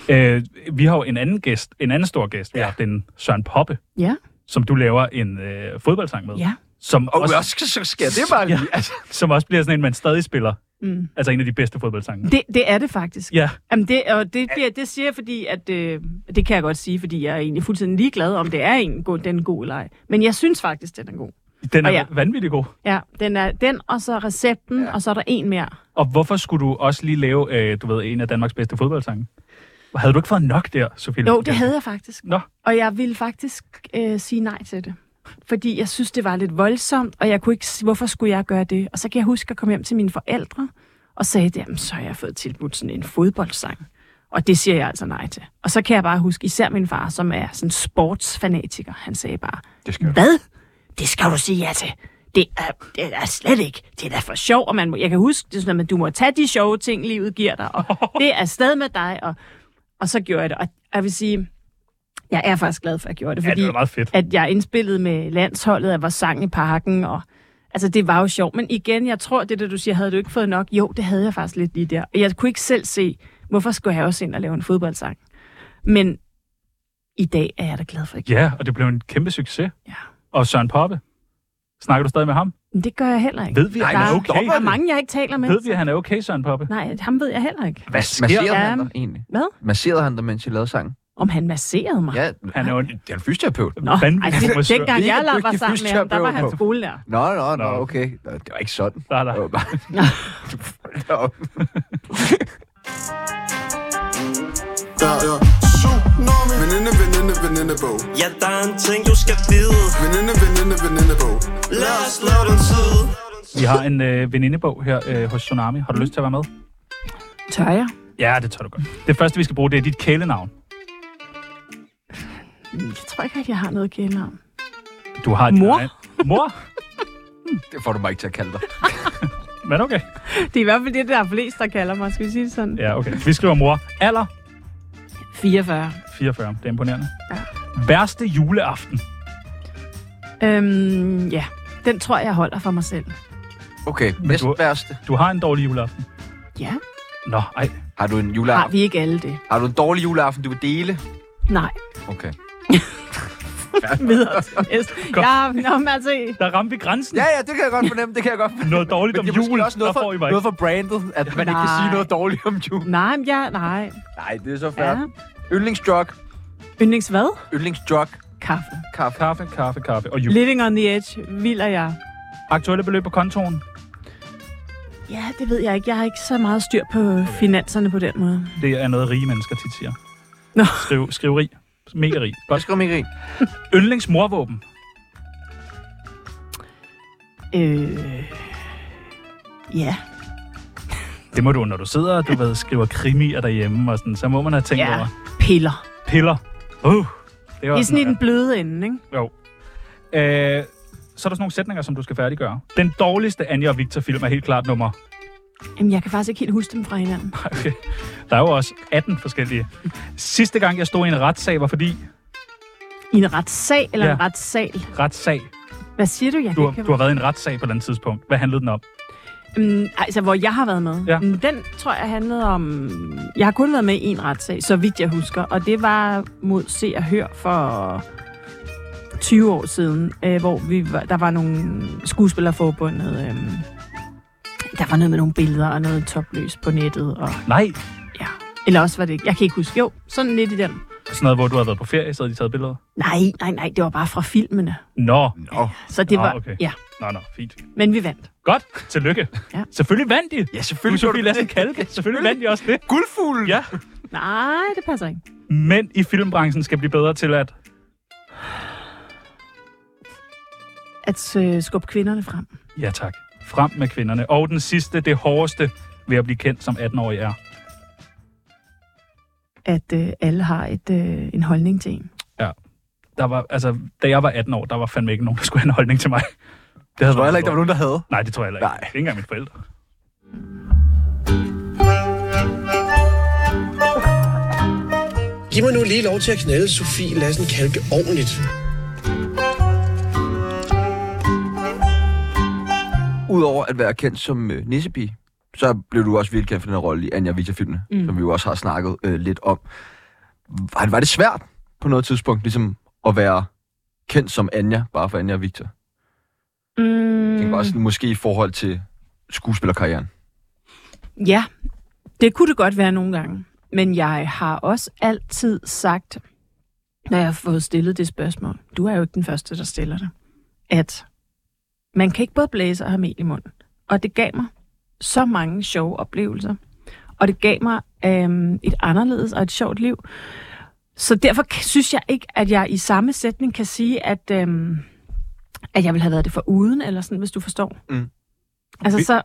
Øh, vi har jo en anden gæst, en anden stor gæst. Vi har haft en Søren Poppe, Ja, som du laver en øh, fodboldsang med. ja. Som, Og også, også, så- så sker det bare lige. Altså, som også bliver sådan en, man stadig spiller. Mm. Altså en af de bedste fodboldsange. Det, det er det faktisk. Ja, Jamen det, og det, bliver, det siger jeg, fordi at, øh, det kan jeg godt sige, fordi jeg er egentlig fuldstændig ligeglad, om det er en god, den er god eller ej. Men jeg synes faktisk, den er god. den er Og ja. vanvittig god. Ja, den er den, og så recepten, ja. og så er der en mere. Og hvorfor skulle du også lige lave, øh, du ved, en af Danmarks bedste fodboldsange? Havde du ikke fået nok der, Sofie? Jo, det havde jeg faktisk. Nå. Og jeg ville faktisk øh, sige nej til det. Fordi jeg synes, det var lidt voldsomt, og jeg kunne ikke sige, hvorfor skulle jeg gøre det? Og så kan jeg huske at komme hjem til mine forældre og sagde, jamen så har jeg fået tilbudt sådan en fodboldsang. Og det siger jeg altså nej til. Og så kan jeg bare huske, især min far, som er sådan sportsfanatiker, han sagde bare, det skal hvad? Det skal du sige ja til. Det er, det er slet ikke. Det er da for sjov, og man må, jeg kan huske, det er sådan, at du må tage de sjove ting, livet giver dig, og det er stadig med dig, og, og så gjorde jeg det. Og jeg vil sige, jeg er faktisk glad for, at jeg gjorde det, Ja, fordi det var meget fedt. at jeg indspillede med landsholdet, at var sang i parken, og altså det var jo sjovt. Men igen, jeg tror, det der du siger, havde du ikke fået nok? Jo, det havde jeg faktisk lidt lige der. Og jeg kunne ikke selv se, hvorfor skulle jeg også ind og lave en fodboldsang? Men i dag er jeg da glad for, at jeg gjorde Ja, og det blev en kæmpe succes. Ja. Og Søren Poppe, snakker du stadig med ham? Men det gør jeg heller ikke. Ved vi, at der, han er okay? Der er mange, jeg ikke taler med. Ved vi, at han er okay, Søren Poppe? Nej, ham ved jeg heller ikke. Hvad Masserede han Ja. dig egentlig? Hvad? Masserede han dig, mens I lavede sangen? Om han masserede mig? Ja, Han er jo en det er en fysioterapeut. Nå, ej, vanvittig det, frisør. dengang jeg Mega la- var dygtig sammen med ham, der var han fysioterapeut. skolelærer. Nå, nå, nå, Nå. okay. Nå, det var ikke sådan. Nej, nej. Det var bare... Nå. Der er tsunami Veninde, veninde, venindebog Ja, der er en ting, du skal vide Veninde, veninde, venindebog Lad os lave den tid Vi har en øh, venindebog her øh, hos Tsunami. Har du lyst til at være med? Tør jeg? Ja, det tør du godt. Det første, vi skal bruge, det er dit kælenavn. Jeg tror ikke, at jeg har noget kælenavn. Du har din Mor? Egen... Mor? Det får du mig ikke til at kalde dig. Men okay. Det er i hvert fald det, der er flest, der kalder mig. Skal vi sige det sådan? Ja, okay. Vi skriver mor. Alder? 44. 44. Det er imponerende. Ja. Værste juleaften? Øhm, ja. Den tror jeg, jeg holder for mig selv. Okay, næst du- værste. Du har en dårlig juleaften. Ja. Nå, ej. Har du en Har juleaften? vi ikke alle det? Har du en dårlig juleaften, du vil dele? Nej. Okay. Videre til næste. Ja, nå, men altså, Der ramte vi grænsen. Ja, ja, det kan jeg godt fornemme, det kan jeg godt fornemme. Noget dårligt om Men det er måske jul, også noget der for, får I mig noget for brandet, at man ikke kan sige Nej. noget dårligt om jul. nej, men ja, nej. Nej, det er så fair. Ja. Ja. Yndlingsdrug, Yndlings hvad? yndlingsdrug, Kaffe. kaffe. Kaffe, kaffe, kaffe og jul. Living on the edge. Vild er jeg. Aktuelle beløb på kontoen? Ja, det ved jeg ikke. Jeg har ikke så meget styr på finanserne på den måde. Det er noget, rige mennesker tit siger. Nå. Skriv, skriveri. Mega rig. Jeg Godt. skriver mig ikke Yndlingsmorvåben. Øh... Ja. Det må du, når du sidder og du ved, skriver krimier derhjemme, og sådan, så må man have tænkt Ja. over. Piller. Piller. Uh, det Det var er sådan i den bløde ende, ikke? Jo. Øh, så er der sådan nogle sætninger, som du skal færdiggøre. Den dårligste Anja og Victor-film er helt klart nummer... Jamen, jeg kan faktisk ikke helt huske dem fra hinanden. Okay. Der er jo også 18 forskellige. Sidste gang, jeg stod i en retssag, var fordi... I en retssag eller Ja. en retssal? Retssag. Hvad siger du, jeg Du har, ikke du har været i en retssag på et eller andet tidspunkt. Hvad handlede den om? Mm, altså, hvor jeg har været med. Ja. Mm, Den tror jeg handlede om... Jeg har kun været med i en retssag, så vidt jeg husker. Og det var mod Se og Hør for 20 år siden, øh, hvor vi var, der var nogle skuespillerforbundet... Øh, der var noget med nogle billeder og noget topløs på nettet. Og, Nej, ja. Eller også var det ikke... Jeg kan ikke huske. Jo, sådan lidt i den. sådan noget, hvor du har været på ferie, så havde de taget billeder. Nej, nej, nej. Det var bare fra filmene. Nå, Nå, Så det Nå, var... okay. Ja, nå, nå, fint. men vi vandt. Godt, tillykke. Ja. Selvfølgelig vandt I. ja, Du selvfølgelig. Sofie gjorde Lassen det. Kalke. Selvfølgelig vandt I også det. Guldfuglen! Ja. Nej, det passer ikke. Mænd i filmbranchen skal blive bedre til at... At øh, skubbe kvinderne frem. Ja tak. Frem med kvinderne. Og den sidste, det hårdeste ved at blive kendt som 18-årig er? at øh, alle har et, øh, en holdning til en. Der var, altså, da jeg var 18 år, der var fandme ikke nogen, der skulle have en holdning til mig. Det havde Jeg tror heller ikke, der var nogen, der havde. Nej, det tror jeg heller ikke. Nej. Ikke engang mine forældre. Giv mig nu lige lov til at knalde Sofie Lassen Kalke ordentligt. Udover at være kendt som øh, nissepige, så blev du også virkelig kendt for den her rolle i Anja Vita-filmene, mm. som vi jo også har snakket øh, lidt om. Var det, var det svært på noget tidspunkt ligesom at være kendt som Anja, bare for Anja og Victor? Mm. Mm. Tænker også sådan, måske i forhold til skuespillerkarrieren. Ja, det kunne det godt være nogle gange. Men jeg har også altid sagt, når jeg har fået stillet det spørgsmål, du er jo ikke den første, der stiller det, at man kan ikke både blæse og have mel i munden. Og det gav mig så mange sjove oplevelser. Og det gav mig øhm, et anderledes og et sjovt liv. Så derfor k- synes jeg ikke, at jeg i samme sætning kan sige, at, øhm, at jeg ville have været det for uden, eller sådan, hvis du forstår. Mm. Altså, Vi- så,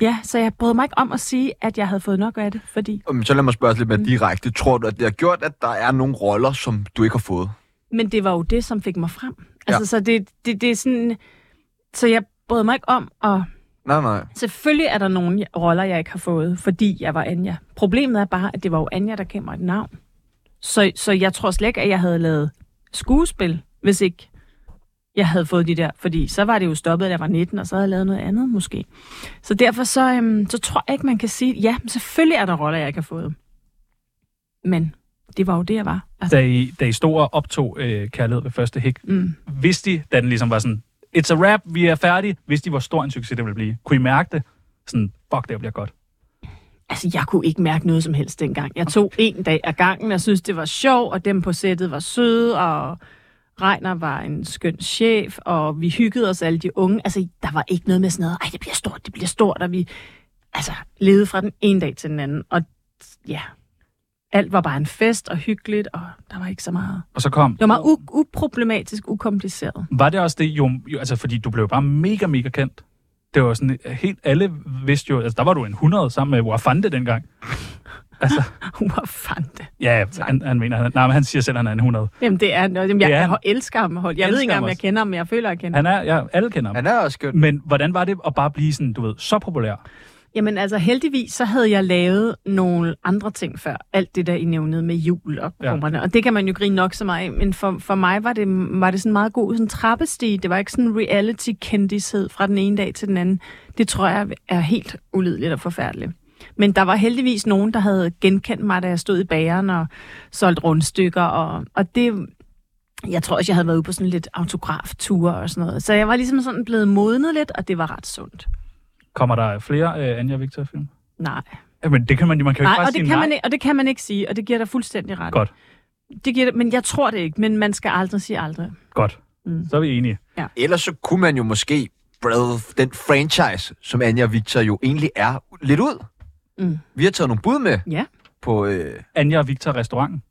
Ja, så jeg brød mig ikke om at sige, at jeg havde fået nok af det, fordi... Om, Øhm, så lad mig spørge lidt mere Mm. direkte. Tror du, at det har gjort, at der er nogle roller, som du ikke har fået? Men det var jo det, som fik mig frem. Altså, så det, det, det er sådan... Så jeg brød mig ikke om, og Nej, nej. selvfølgelig er der nogle roller, jeg ikke har fået, fordi jeg var Anja. Problemet er bare, at det var jo Anja, der gav mig et navn. Så, så jeg tror slet ikke, at jeg havde lavet skuespil, hvis ikke jeg havde fået de der, fordi så var det jo stoppet, da jeg var 19, og så havde jeg lavet noget andet måske. Så derfor så, øhm, så tror jeg ikke, man kan sige, ja, men selvfølgelig er der roller, jeg ikke har fået. Men det var jo det, jeg var. Altså, Da I, da I stod og optog øh, Kærlighed ved første hik, mm. vidste I, da den ligesom var sådan, it's a wrap, vi er færdige, vidste I, hvor stor en succes det ville blive? Kunne I mærke det? Sådan, fuck, det bliver godt. Altså, jeg kunne ikke mærke noget som helst dengang. Jeg tog en dag af gangen, og synes det var sjovt, og dem på sættet var søde, og Reiner var en skøn chef, og vi hyggede os alle de unge. Altså, der var ikke noget med sådan noget, ej, det bliver stort, det bliver stort, og vi altså, levede fra den ene dag til den anden. Og ja, alt var bare en fest og hyggeligt, og der var ikke så meget. Og så kom Det var meget u- uproblematisk, ukompliceret. Var det også det, jo, jo, altså fordi du blev jo bare mega, mega kendt. Det var sådan helt, alle vidste jo, altså der var du en 100 sammen med Wafande dengang. Hvor fandt det? Ja, ja, han, han mener, han, nej, men han siger selv, at han er en 100. Jamen, det er noget. Jamen, jeg, Det er jeg, han. elsker ham. Hold. Jeg ved Elsker ikke engang, ham om jeg også. kender ham, men jeg føler, jeg kender ham. Han er, ja, alle kender ham. Han er også skøn. Men hvordan var det at bare blive sådan, du ved, så populær? Jamen altså heldigvis, så havde jeg lavet nogle andre ting før. Alt det der, I nævnede med jul og Ja. krummerne. Og det kan man jo grine nok så meget af, men for, for mig var det, var det sådan meget god sådan trappestige. Det var ikke sådan reality-kendished fra den ene dag til den anden. Det tror jeg er helt ulideligt og forfærdeligt. Men der var heldigvis nogen, der havde genkendt mig, da jeg stod i bageren og solgte rundstykker. Og, og det, jeg tror også, jeg havde været ude på sådan lidt autografture og sådan noget. Så jeg var ligesom sådan blevet modnet lidt, og det var ret sundt. Kommer der flere øh, Anja Victor-film? Nej. Jamen, det kan man, man kan jo ikke Nej, bare og sige det, kan nej. man ikke, og det kan man ikke sige, og det giver dig fuldstændig ret. Godt, Det giver, dig- men jeg tror det ikke, men man skal aldrig sige aldrig. godt. Mm. Så er vi enige. Ellers så kunne man jo måske brede den franchise, som Anja og Victor jo egentlig er, lidt ud. Mm. Vi har taget nogle bud med Ja. på... Øh, Anja og Victor restauranten.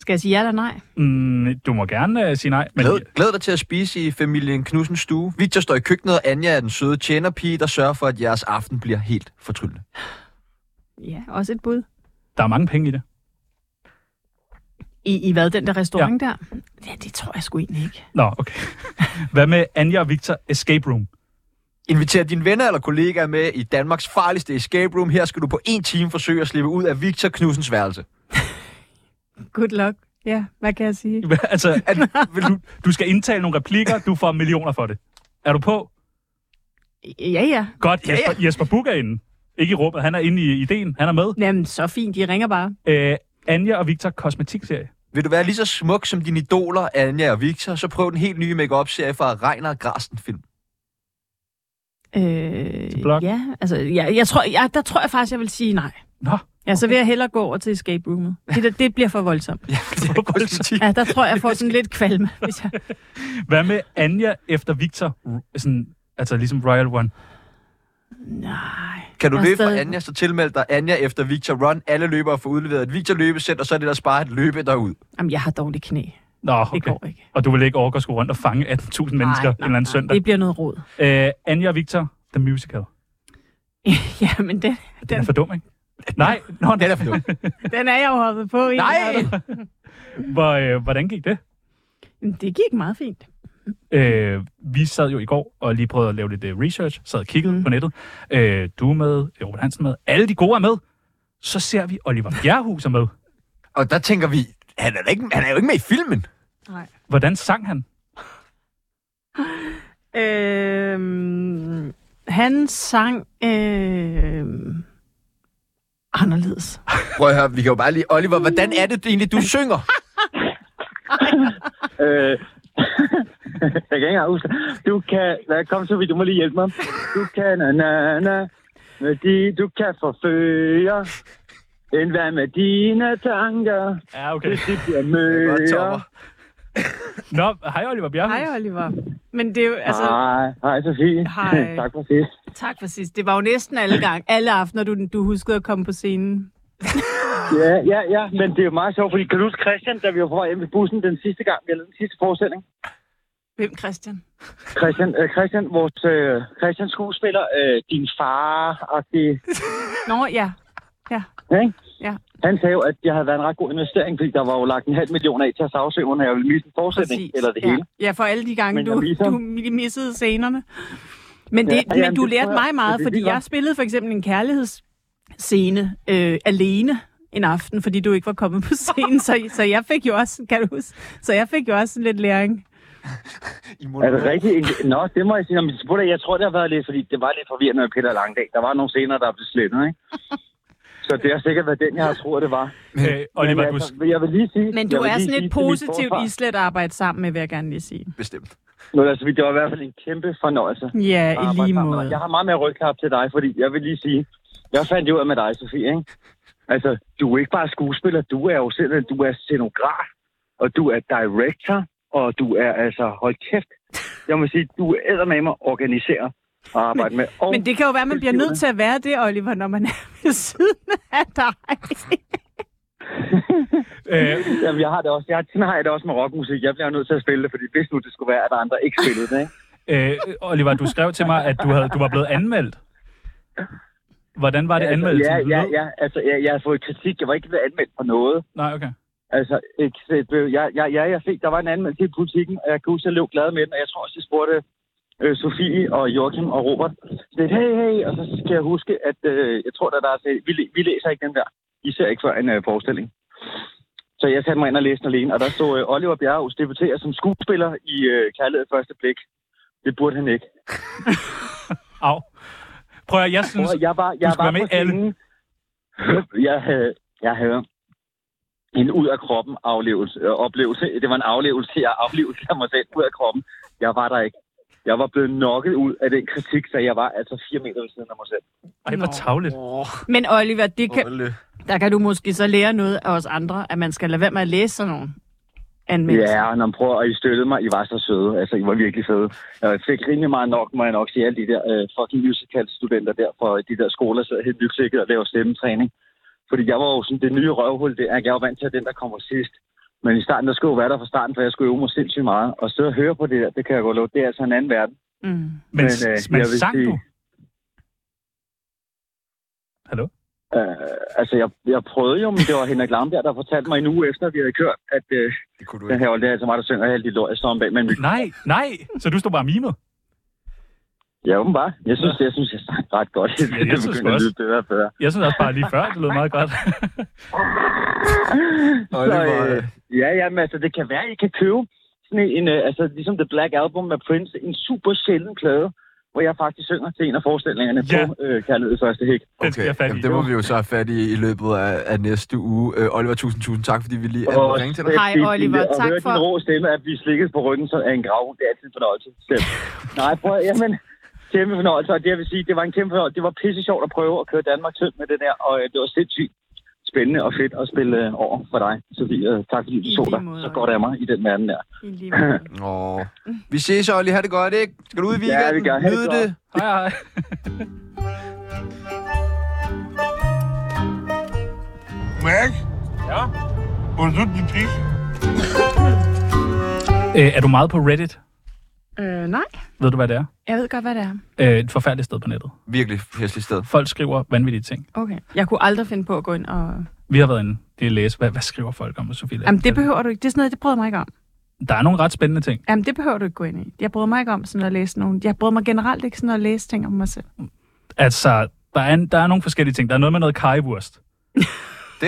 Skal jeg sige ja eller nej? Mm, du må gerne øh, sige nej, men glæd, glæd dig til at spise i familien Knudsens stue. Victor står i køkkenet, og Anja er den søde tjenerpige, der sørger for, at jeres aften bliver helt fortryllende. Ja, også et bud. der er mange penge i det. I, i hvad, den der restaurant ja. der? Ja, det tror jeg sgu egentlig ikke. Nå, okay. Hvad med Anja og Victor Escape Room? Inviter dine venner eller kollegaer med i Danmarks farligste escape room. Her skal du på en time forsøge at slippe ud af Victor Knudsens værelse. Good luck. Ja, hvad kan jeg sige? altså, at, vil du, du skal indtale nogle replikker, du får millioner for det. Er du på? Ja, ja. Godt, Jesper, ja, ja. Jesper Buk er inde. Ikke i rummet, han er inde i ideen, han er med. Jamen, så fint, de ringer bare. Øh, Anja og Victor Kosmetikserie. Vil du være lige så smuk som dine idoler, Anja og Victor, så prøv den helt nye make-up-serie fra Reiner Grasten Film. Øh, blok. ja, altså, ja, jeg tror, jeg, der tror jeg faktisk, jeg vil sige nej. Nå, Ja, så vil jeg hellere gå over til escape roomet. Det, der, det bliver for voldsomt. Ja, det er kosmetik. Ja, der tror jeg, jeg får sådan lidt kvalme, hvis jeg... hvad med Anja efter Victor? R- Sådan, altså ligesom Royal One. Nej. Kan du Jeg er løbe fra stadig- Anja, så tilmeld dig Anja efter Victor Run. Alle løbere får udleveret et Victor løbesæt, og så er det ellers bare et løbe derud. Jamen, jeg har dårligt knæ. Det Nå, okay. går ikke. Og du vil ikke orke at skulle rundt og fange 18.000 mennesker nej, en eller anden nej, søndag. Det bliver noget råd. Øh, Anja og Victor, The Musical. ja, men den, Den er for dum, ikke? Nej, nå, Den er for dum. den er jeg jo hoppet på. i. Nej! hvor, øh, hvordan gik det? Men Det gik meget fint. Øh, vi sad jo i går og lige prøvede at lave lidt øh, research, sad og kiggede mm. på nettet. Øh, du er med, Robert Hansen er med, alle de gode er med. Så ser vi Oliver Bjerrehus er med. Og der tænker vi, han er, da ikke, han er jo ikke med i filmen. Nej. Hvordan sang han? Øhm, han sang øhm, anderledes. Prøv at høre, vi kan jo bare lige... Oliver, hvordan er det egentlig, du synger? Øh, jeg kan ikke engang huske. Du kan... Lad, kom så vidt, du må lige hjælpe mig. Du kan na na na. Med de, du kan forføre. End hvad med dine tanker. Ja, okay. De bliver møre. Godt, Topper. Nå, hej Oliver Bjerrehus. Hej, Oliver. Men det er jo, altså, Hej, hej Sofie. Hej. tak for sidst. tak for sidst. Det var jo næsten alle gang, alle aftener, du, du huskede at komme på scenen. Ja, ja, ja, men det er jo meget sjovt, fordi kan du huske Christian, da vi var på vej hjem i bussen den sidste gang, vi lavede den sidste forestilling? Hvem, Christian? Christian, øh, Christian vores øh, Christian skuespiller, øh, din far og det, Nå, ja. Ja. Ja, ikke? Ja. Han sagde jo, at jeg havde været en ret god investering, fordi der var jo lagt en halv million af til at sagsøge, når jeg ville misse en fortsætning, Præcis. eller det ja. hele. Ja, for alle de gange, Men jeg du, viser- du missede scenerne. Men, det, Ja, ja, jamen, men du det lærte tror jeg. mig meget, Det er fordi lige godt. jeg spillede for eksempel en kærlighedsscene øh, alene en aften, fordi du ikke var kommet på scenen, så, så jeg fik jo også, kan du huske, så jeg fik jo også lidt læring. I Er det rigtigt? En- Nå, det må jeg sige. Nå, men spurgte jeg- jeg tror, det har været lidt, fordi det var lidt forvirrende med Peter Langdag. Der var nogle scener, der blev slettet, ikke? Så det har sikkert været den, jeg har troet, det var. Øh, Oliver, men, du, altså, jeg vil lige sige... Men du jeg vil er lige sådan et sige til mit positivt forsvar- islet at arbejde sammen med, vil jeg gerne lige sige. Bestemt. Nå, altså, det var i hvert fald en kæmpe fornøjelse. Ja, at i arbejde lige sammen med dig. måde. Ah, Jeg har meget mere rygklap til dig, fordi jeg vil lige sige, jeg fandt det ud af med dig, Sofie, ikke? Altså, du er ikke bare skuespiller, du er jo selv, du er scenograf, og du er director, og du er altså, hold kæft, jeg må sige, du er eddermame at organisere og arbejde med. Og Men det kan jo være, man bliver nødt til at være det, Oliver, når man er ved siden af dig. øh, jamen, jeg har det også, jeg, sådan har jeg det også med rockmusik, jeg bliver nødt til at spille det, fordi hvis nu det skulle være, at der andre ikke spillede det, ikke? øh, Oliver, du skrev til mig, at du, havde, du var blevet anmeldt. Hvordan var det anmeldelsen? Altså, ja, ja, lød? ja, altså, jeg, jeg har fået kritik, jeg var ikke blevet anmeldt for noget. Nej, okay. Altså, ikke, det blev- jeg, jeg, jeg, jeg fik, der var en anmeldelse i politikken, og jeg kunne huske, at jeg løb glad med den, og jeg tror også, jeg spurgte øh, Sofie og Joachim og Robert, lidt, hey, hey, og så skal jeg huske, at øh, jeg tror, at der er, til- vi, læ- vi læser ikke den der, især ikke før en øh, forestilling. Så jeg satte mig ind og læste den alene, og der stod øh, Oliver Bjerghus debuterer som skuespiller i øh, Kærlighed ved Første Blik. Det burde han ikke. Au. Prøv at, høre, jeg synes, Prøv, at- jeg var, jeg skal var være med på i alle. scenen. Jeg havde, jeg havde en ud af kroppen aflevelse, øh, oplevelse. Det var en aflevelse, jeg aflevelse af mig selv ud af kroppen. Jeg var der ikke. Jeg var blevet nokket ud af den kritik, så jeg var altså fire meter ved siden af mig selv. ej, hvor tavligt. Men Oliver, det kan, der kan du måske så lære noget af os andre, at man skal lade være med at læse sådan nogle anmeldelser. Ja, når prøver, og I støttede mig. I var så søde. Altså, I var virkelig fede. Jeg fik rimelig meget nok, må jeg nok sige, alle de der øh, fucking musical-studenter der fra de der skoler, så helt nyklækket og laver stemmetræning. Fordi jeg var jo sådan det nye røvhul der. Jeg var vant til, at den, der kommer sidst. Men i starten, der skulle jeg jo være der fra starten, for jeg skulle øve mig sindssygt meget. Og så at høre på det der, det kan jeg godt love, det er altså en anden verden. Mm. Men, Men, men, øh, men jeg vil sang sige- du? Hallo? Øh, altså, jeg, jeg prøvede jo, men det var Henrik Lambert, der fortalte mig en uge efter, at vi havde kørt, at øh, Det kunne du den ikke. her, det er altså mig, der synger alt de lort, jeg står om bag med en mikrofon. Nej, nej. Så du stod bare og mimede? Ja, åbenbart. Jeg synes, jeg synes, jeg sang ret godt. Det jeg synes begynder at også. lyde bedre og bedre. Jeg synes også bare lige før, det lød meget godt. Oliver, Så, øh, øh, ja, ja, men altså, det kan være, at I kan købe sådan en, øh, altså ligesom The Black Album med Prince, en super sjælden plade, hvor jeg faktisk synger til en af forestillingerne Ja. ja. på øh, Kærlighed i første hæk. Den skal jeg okay. fat Jamen, i. det må vi jo så have fat i i løbet af, af næste uge. Øh, Oliver, tusind, tusind tak, fordi vi lige Og- ringe til dig. Hej, Det er Oliver. fint, øh, Tak at høre for- din rå stemme, at vi slikket på ryggen, så er en grav. Det er altid en fornøjelse. Stemt. Nej, prøv at, jamen, kæmpe fornøjelse. Og det, jeg vil sige, det var en kæmpe fornøjelse. Det var pisse sjovt at prøve at køre Danmark tyndt med det der, og øh, det var sindssygt spændende og fedt at spille øh, over for dig, Sofie. Øh, tak fordi I du så lige dig måde, så godt af mig i den verden der. I lige måde. Åh. Vi ses, Olli. Ha' det godt, ikke? Skal du ud i Ja, vi weekenden? gør. Ha' det Nyd godt. det. Hej, hej. Mac? Ja? Hvor er du den pik? Øh, er du meget på Reddit? Øh, nej. Ved du, hvad det er? Jeg ved godt, hvad det er. Øh, et forfærdeligt sted på nettet. Virkelig hæsligt sted. Folk skriver vanvittige ting. Okay. Jeg kunne aldrig finde på at gå ind og... Vi har været inde det er at læse, hvad, hvad skriver folk om Sofie Jamen, det Lassen? behøver du ikke. Det er sådan noget, det bryder jeg mig ikke om. Der er nogle ret spændende ting. Jamen, det behøver du ikke gå ind i. Jeg bryder mig ikke om sådan at læse nogen. Jeg bryder mig generelt ikke sådan at læse ting om mig selv. Altså, der er, en, der er nogle forskellige ting. Der er noget med noget kajewurst Det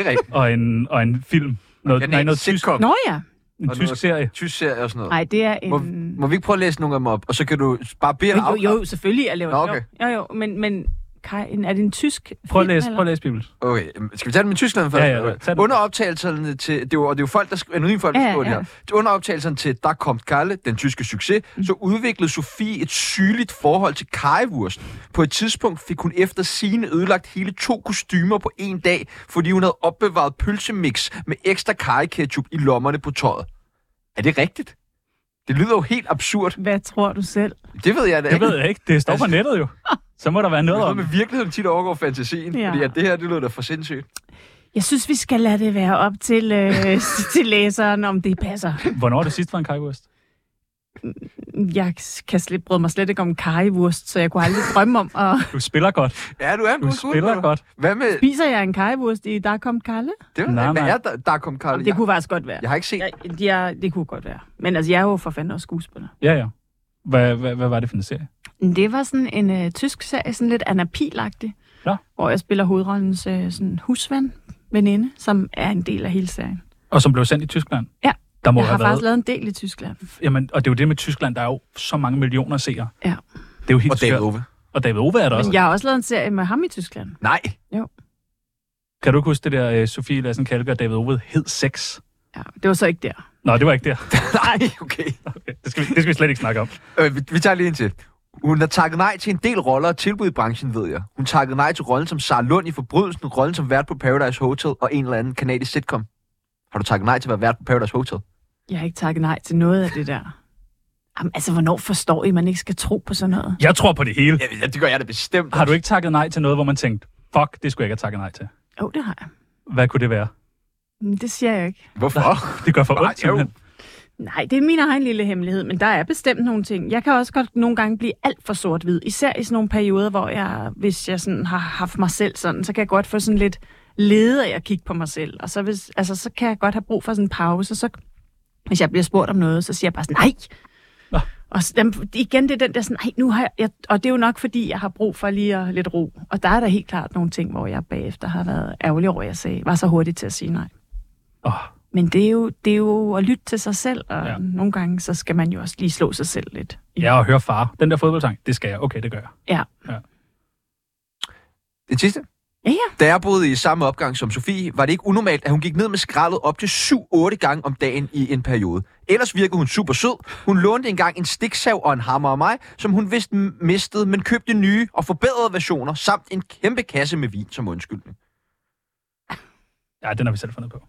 er rigtigt. og en, og en film. Noget, Den nej, er en noget tysk, sitcom. Nå ja. en Og tysk noget- serie. Tysk serie og sådan noget. Nej, det er en... Må, må vi ikke prøve at læse nogle af dem op, og så kan du bare bede mm. Jo, jo, jo, selvfølgelig. Jeg laver Nå, Nå, okay. okay. Jo, jo, men, men Kai, en- er det en tysk Prøv at film, læse, eller? prøv at læse Bibel. Okay, jamen, skal vi tage den med Tyskland først? Ja, ja, tag den. Under optagelserne til, det er jo, og det er jo folk, der skriver, anonyme folk, der Ja, ja, skriver det ja. her. Under optagelserne til Der kom Kalle, den tyske succes, Mm. så udviklede Sofie et sygeligt forhold til kajewurst. På et tidspunkt fik hun efter sine ødelagt hele to kostymer på en dag, fordi hun havde opbevaret pølsemix med ekstra kajeketchup i lommerne på tøjet. Er det rigtigt? Det lyder jo helt absurd. Hvad tror du selv? Det ved jeg da Det ikke. ved jeg ikke. Det står på nettet jo. Så må der være Det er noget noget om. med det. virkeligheden tit overgår fantasien, ja. Ja. fordi at det her, det lyder da for sindssygt. Jeg synes, vi skal lade det være op til, øh, til læseren, om det passer. Hvornår er det sidst var en kajewurst? Jeg kan slet, bryde mig slet ikke om kajewurst, så jeg kunne aldrig drømme om at... Du spiller godt. Ja, du er en Du god spiller skuespiller. godt. Hvad med, Spiser jeg en kajewurst i Der kom Kalle? Det ved Nej, jeg ikke. Hvad nej. er der, der er kommet Karl? Jamen, det kunne faktisk godt være. jeg, jeg har ikke set. Jeg, jeg, det kunne godt være. Men altså, jeg er jo for fanden også skuespiller. Ja, ja. Hvad, hvad, hvad var det for en serie? Det var sådan en øh, tysk serie, sådan lidt anapilagtig. Nå. Hvor jeg spiller hovedrollens øh, sådan husven, veninde, som er en del af hele serien. Og som blev sendt i Tyskland? Ja. Der må jeg har have faktisk været... lavet en del i Tyskland. Jamen, og det er jo det med Tyskland, der er jo så mange millioner seere. Ja. Det er jo helt Og David skørt. Ove. Og David Ove er der også. Men jeg har også lavet en serie med ham i Tyskland. Nej. Kan du ikke huske det der, uh, Sofie Lassen Kalke og David Ove hed sex? Ja, det var så ikke der. Nå, det var ikke der. Nej, okay. Okay, det, skal vi, det skal vi slet ikke snakke om. Øh, vi, vi tager lige en til. Hun har takket nej til en del roller og tilbud i branchen, ved jeg. Hun takkede nej til rollen som Sara Lund i Forbrydelsen, rollen som vært på Paradise Hotel og en eller anden kanadisk sitcom. Har du takket nej til at være vært på Paradise Hotel? Jeg har ikke takket nej til noget af det der. Jamen, altså, hvornår forstår I, at man ikke skal tro på sådan noget? Jeg tror på det hele. Ja, det gør jeg da bestemt. Har du ikke takket nej til noget, hvor man tænkte, fuck, det skulle jeg ikke have takket nej til? Jo, oh, det har jeg. Hvad kunne det være? Men Mm, det siger jeg ikke. Hvorfor? Det gør for Nej, ondt, simpelthen. Nej, det er min egen lille hemmelighed, men der er bestemt nogle ting. Jeg kan også godt nogle gange blive alt for sort-hvid, især i sådan nogle perioder, hvor jeg, hvis jeg sådan har haft mig selv sådan, så kan jeg godt få sådan lidt leder af at kigge på mig selv. Og så, hvis, altså, så kan jeg godt have brug for sådan en pause, og så hvis jeg bliver spurgt om noget, så siger jeg bare sådan, nej! Nå. Og s- jamen, igen, det er den der sådan, nej, nu har jeg, jeg, og det er jo nok, fordi jeg har brug for lige at, lidt ro. Og der er der helt klart nogle ting, hvor jeg bagefter har været ærgerlig over, at jeg sagde, var så hurtig til at sige nej. Åh, Men det er, jo, det er jo at lytte til sig selv, og Ja. ja. nogle gange, så skal man jo også lige slå sig selv lidt. ja, og høre far. Den der fodboldsang, det skal jeg. Okay, det gør jeg. Ja. Den sidste? Ja, ja. Da jeg boede i samme opgang som Sofie, var det ikke unormalt, at hun gik ned med skraldet op til 7-8 gange om dagen i en periode. Ellers virkede hun super sød. Hun lånte engang en stiksav og en hammer af mig, som hun vist m- mistede, men købte nye og forbedrede versioner, samt en kæmpe kasse med vin som undskyldning. Ja, den har vi selv fundet på.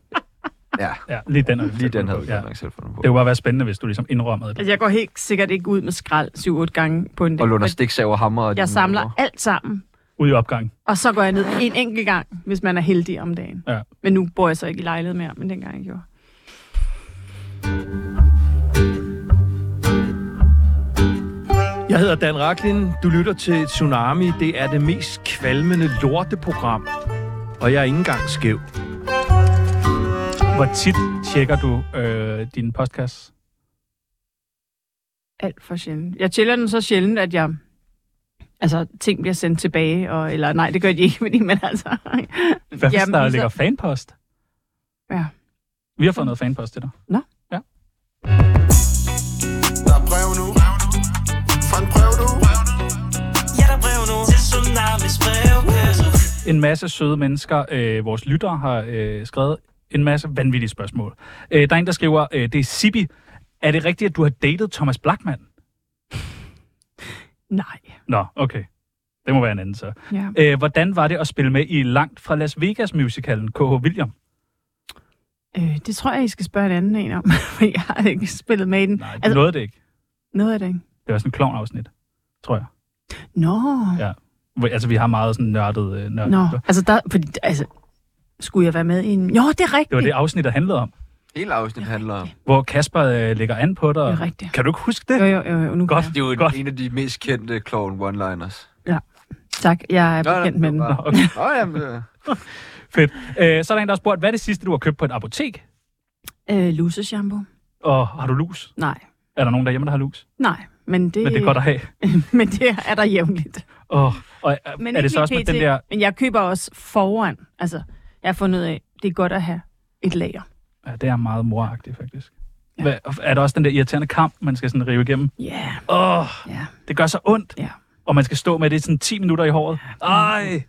Ja, Ja, lige den har vi lige selv den havde fundet vi på. godt ja. nok selv fundet på. Det kunne bare være spændende, hvis du ligesom indrømmede det. Altså, jeg går helt sikkert ikke ud med skrald 7-8 gange på en dag. Og låner for stiksav og hammer. og jeg din- samler alt sammen, Ude i opgangen. og så går jeg ned en enkelt gang, hvis man er heldig om dagen. Ja. Men nu bor jeg så ikke i lejlighed mere, men dengang jeg gjorde. Jeg hedder Dan Raklin. Du lytter til Tsunami. Det er det mest kvalmende lorteprogram. Og jeg er ikke engang skæv. Hvor tit tjekker du øh, din podcast? Alt for sjældent. Jeg tæller den så sjældent, at jeg... Altså, ting bliver sendt tilbage, og, eller nej, det gør de ikke, fordi man altså... Hvad hvis Jamen, altså- der så- ligger fanpost? Ja. Vi har fået noget fanpost til dig. Der er brev nu Fra en brev du Ja, der er brev nu til Tsunamis brevkasse. En masse søde mennesker, øh, vores lyttere, har øh, skrevet en masse vanvittige spørgsmål. Øh, der er en, der skriver, øh, det er Sibi. Er det rigtigt, at du har datet Thomas Blackman? Nej. Nå, okay. Det må være en anden så. Ja. Øh, hvordan var det at spille med i Langt fra Las Vegas musicalen K.H. William? Øh, det tror jeg, I skal spørge en anden en om, for jeg har ikke spillet med i den. Nej, du altså, altså, nåede det ikke. noget af det, ikke? Det var sådan en klovn-afsnit, tror jeg. Nå, Ja. Hvor- Altså, vi har meget sådan nørdet... Øh, nørdet. Nå. altså der, fordi, altså, skulle jeg være med i en... Jo, det er rigtigt. Det var det afsnit, der handlede om. Hele afsnit handler om... hvor Kasper øh, lægger an på dig. Det er rigtigt. Kan du ikke huske det? Jo, jo, jo, jo nu Godt. kan Det er jo Godt. en af de mest kendte clown one-liners. jeg. Tak, jeg er Nå, bekendt nå, med den. nå, okay. Nå, jamen, øh, Fedt. Øh, så er der en, der har spurgt, hvad er det sidste, du har købt på et apotek? Øh, Luseshampoo? Og har du lus? Nej. Er der nogen derhjemme, der har lus? Nej, men det, Men det er godt at have. men det er der jævnligt. Oh, og er, Men er ikke det så lige også med PT, den der... Men jeg køber også foran. Altså, jeg har fundet ud af, det er godt at have et lager. Ja, det er meget moragtigt, faktisk. Hvad, er der også den der irriterende kamp, man skal sådan rive igennem? Ja, yeah, Åh, oh, ja. Yeah. det gør så ondt. Ja. Og man skal stå med det sådan 10 minutter i håret. Ej!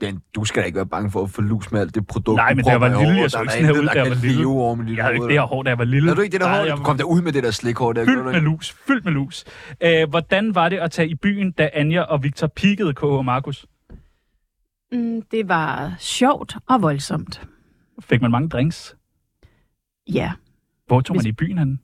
den, du skal da ikke være bange for at få lus med alt det produkt, Nej, du men da jeg propper var i lille, håret. jeg så Der er ikke da sådan her intet, ud, der da jeg kan var lille. leve over med dit Jeg havde ikke hoved, det her eller- hår, da jeg var lille. Havde du ikke det der Nej, hår? jeg Du var kom der ud med det der slikhår der. Fyldt gjorde du med ikke? lus, fyldt med lus. Æh, hvordan var det at tage i byen, da Anja og Victor pikkede KH og Markus? Mm, det var sjovt og voldsomt. Fik man mange drinks? Ja, Hvor tog Hvis- man i byen han?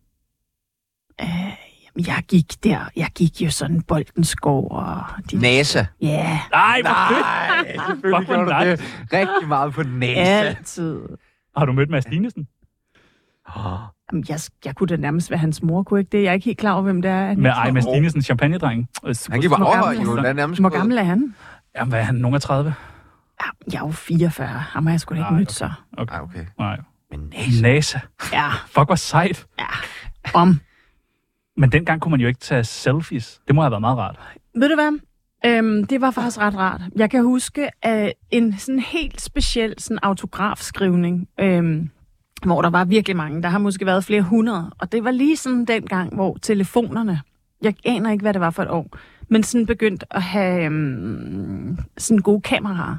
Jamen, jeg gik der. Jeg gik jo sådan boldens gård og... De... NASA. Ja, Nej, hvor fedt! selvfølgelig Fuck, gjorde hvor du det. Rigtig meget på NASA. altid. Har du mødt Mads Dinesen? Åh, Jamen, jeg, jeg kunne da nærmest være hans mor, kunne jeg ikke det? Jeg er ikke helt klar over, hvem det er. Med ej, Mads Dinesen, Øh, champagne-drengen. Han gik bare Hvor overhøj, gammel jo. er Han er nærmest Hvor gået- gammel er han? Jamen, hvad er han? Nogen af 30? Ja, jeg er jo 44. Ham har jeg sgu da ikke Ej, mødt så. Nej, okay. Nej. Men NASA. NASA. Ja, Fuck, hvor sejt. om. Men dengang kunne man jo ikke tage selfies. Det må have været meget rart. Ved du hvad? Øhm, det var faktisk ret rart. Jeg kan huske øh, en sådan helt speciel sådan autografskrivning, øhm, hvor der var virkelig mange. Der har måske været flere hundrede, og det var lige sådan den gang, hvor telefonerne, jeg aner ikke, hvad det var for et år, men sådan begyndte at have øhm, sådan gode kameraer.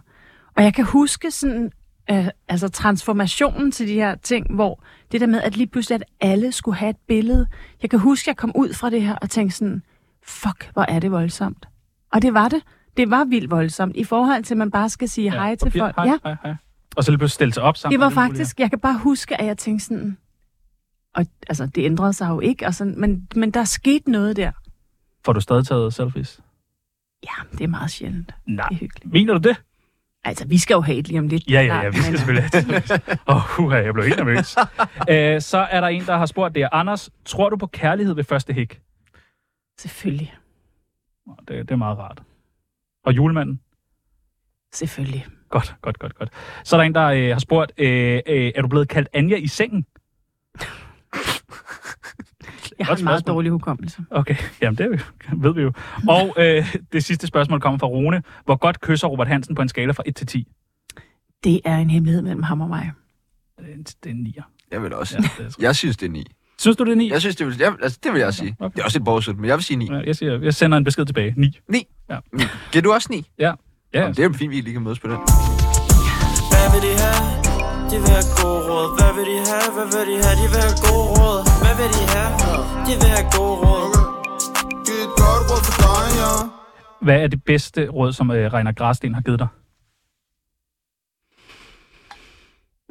Og jeg kan huske sådan, øh, altså transformationen til de her ting, hvor det der med, at lige pludselig, at alle skulle have et billede. Jeg kan huske, jeg kom ud fra det her og tænkte sådan, fuck, hvor er det voldsomt. Og det var det. Det var vildt voldsomt i forhold til, at man bare skal sige ja, hej til papir. folk. Hej, ja, hej, hej. Og så lige pludselig stille sig op sammen. det var med alle mulige. faktisk, jeg kan bare huske, at jeg tænkte sådan, og altså, det ændrede sig jo ikke, og sådan, men, men der skete noget der. Får du stadig taget selfies? Ja, det er meget sjældent. Det Nej. er hyggeligt. Mener du det? Altså, vi skal jo have et lige om lidt. Ja, ja, ja, klart, vi skal men- selvfølgelig have selfies. Åh, oh, jeg blev helt nervøs. Æ, Øh, så er der en, der har spurgt det er, Anders, tror du på kærlighed ved første hik? Selvfølgelig. Nå, Det, det er meget rart. Og julemanden? Selvfølgelig. Godt, godt, godt, godt. Så er der en, der øh, har spurgt, øh, øh, er du blevet kaldt Anja i sengen? Jeg har Godt en meget spørgsmål. dårlig hukommelse. Okay, jamen det er vi- ved vi jo. Og øh, det sidste spørgsmål kommer fra Rune. Hvor godt kysser Robert Hansen på en skala fra 1 til 10? Det er en hemmelighed mellem ham og mig. Det er en- det er en 9'er. Jeg vil også. Ja, det er sgu- Jeg synes, det er 9. Synes du, det er 9? Jeg synes, det vil, jeg, altså, det vil jeg sige. okay. Det er også et borgsødt, men jeg vil sige 9. Ja, Jeg, siger, jeg sender en besked tilbage. 9. 9. Ja. Giver du også 9? Ja. ja. Jamen, det er jo fint, vi lige kan mødes på den. Hvad vil de have? De vil have gode råd Hvad vil de have? Hvad vil de have? De vil have gode råd Hvad vil de have? De vil have gode råd Giv et godt råd til dig, ja Hvad er det bedste råd, som øh, Reiner Græsten har givet dig?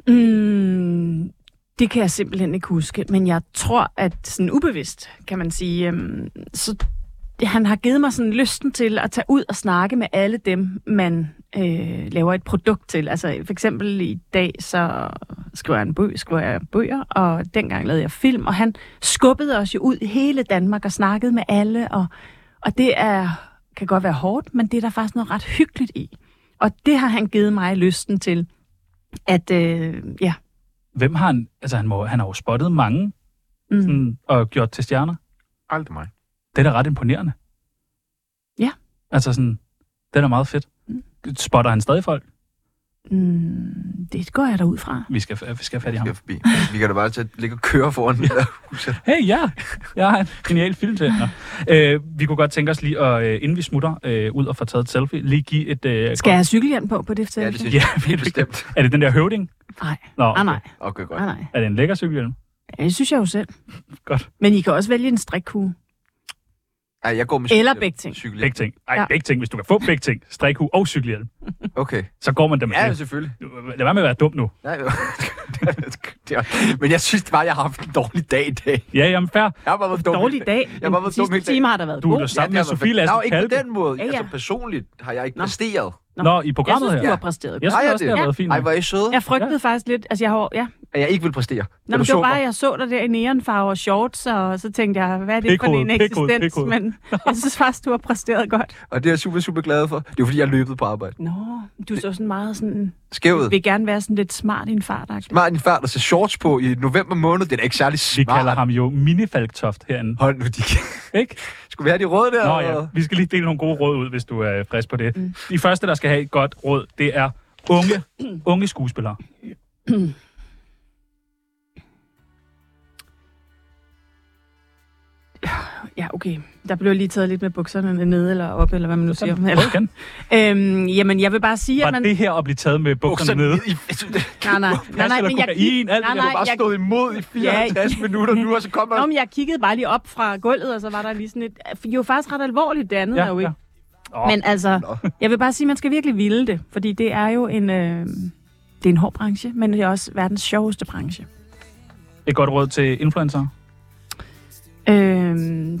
Mm, det kan jeg simpelthen ikke huske, men jeg tror, at sådan ubevidst, kan man sige, øhm, så han har givet mig sådan lysten til at tage ud og snakke med alle dem, man øh, laver et produkt til. Altså for eksempel i dag, så skriver jeg en bøg, skriver jeg bøger, og dengang lavede jeg film, og han skubbede os jo ud i hele Danmark og snakkede med alle, og, og det er, kan godt være hårdt, men det er der faktisk noget ret hyggeligt i. Og det har han givet mig lysten til, at øh, ja, Hvem har han... Altså, han, må, han har jo spottet mange Mm. sådan, og gjort til stjerner. Aldrig mig. Det er da ret imponerende. Ja. Altså sådan... Det er da meget fedt. Spotter han stadig folk? Mm, det går jeg da ud fra. Vi skal, vi skal have fat i ham. Jeg er forbi. Vi kan da bare tage, ligge og køre foran det der hus. her. Hey, ja, jeg har en genial film til jer. Øh, vi kunne godt tænke os lige, at, øh, inden vi smutter øh, ud og får taget et selfie, lige give et... Øh, Skal jeg have cykelhjelm på på det Ja, selfie? det synes Ja, jeg helt virkelig. bestemt. Er det den der høvding? Nej. Nå, Okay. Ah, nej, Okay, godt. ah, nej. Er det en lækker cykelhjelm? Ja, Det synes jeg jo selv. Godt. Men I kan også vælge en strikkue. Ej, jeg går med Eller cykelhjelm. begge ting. Cykelhjelm. Begge ting. Ej, Ja. begge ting. Hvis du kan få begge ting, strikhue og cykelhjelm, Okay. så går man der med Ja, det. selvfølgelig. Lad være med at være dum nu. Nej, jo. Det er- Men jeg synes bare, jeg har haft en dårlig dag i dag. Ja, jamen fair. Jeg har bare været dum. Dårlig dag. Jeg har bare Den været dum sidste hele dagen. time har der været Du er god. da sammen det med har jeg Sofie været- Lassen Nå, ikke på Kalke. den måde. Ja, Ja, ja. ja. Altså personligt har jeg ikke Nå. præsteret. Nå. Nå, i Jeg programmet synes, du her. har præsteret Jeg godt. Har synes jeg også, det det? har været fint. Ej, hvor er I søde. Jeg frygtede faktisk lidt, altså jeg har, ja, at jeg ikke vil præstere. Nå, men det var bare, jeg så dig der i neonfarver og shorts, og så tænkte jeg, hvad er det for Pikhoved, en pikhoved, eksistens? pikhoved. Men jeg synes faktisk, du har præsteret godt. Og det er jeg super, super glad for. Det er jo, fordi jeg løbede på arbejde. Nå, du så sådan meget sådan... Skævet. Vil gerne være sådan lidt smart i en fart Martin Færd, der ser shorts på i november måned, det er da ikke særlig smart. Vi kalder ham jo minifalktoft herinde. Hold nu, de Ikke? Skulle vi have de råd der? Nå ja, eller? vi skal lige dele nogle gode råd ud, hvis du er frisk på det. Mm. De første, der skal have et godt råd, det er unge, unge skuespillere. Ja, okay. Der blev jeg lige taget lidt med bukserne ned eller op, eller hvad man nu siger. Eller, Prøv øhm, jamen, jeg vil bare sige, Var at man... det her at blive taget med bukserne nede? Nej, nej, nej, nej, eller men jeg, kokain, alt det der, du bare stået imod i 54 minutter nu, og så kommer der- Nå, men jeg kiggede bare lige op fra gulvet, og så var der lige sådan et... Jo, faktisk ret alvorligt, det andet Ja, er jo ikke. Åh, Men altså, nå. jeg vil bare sige, at man skal virkelig ville det, fordi det er jo en, øh, det er en hård branche, men det er også verdens sjoveste branche. Et godt råd til influencer. Øh,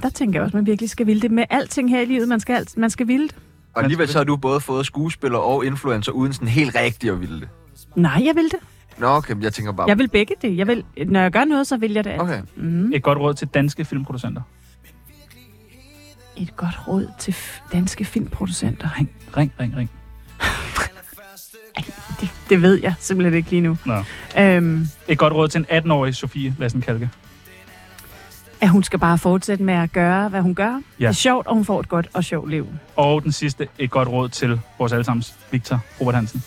der tænker jeg også, at man virkelig skal ville det med alting her i livet. Man skal, alt, man skal ville det. Og alligevel så har du både fået skuespiller og influencer, uden sådan helt rigtigt at ville det. Nej, jeg vil det. Nå, okay, men jeg tænker bare... Jeg vil begge det. Jeg vil, når jeg gør noget, så vil jeg det. Okay. Mm. Et godt råd til danske filmproducenter. Et godt råd til f- danske filmproducenter. Ring, ring, ring, ring. det, det ved jeg simpelthen ikke lige nu. Nå. Øhm, Et godt råd til en 18-årig Sofie Lassen-Kalke. at hun skal bare fortsætte med at gøre, hvad hun gør. Ja. Det er sjovt, og hun får et godt og sjovt liv. Og den sidste, et godt råd til vores allesammens Victor Robert Hansen.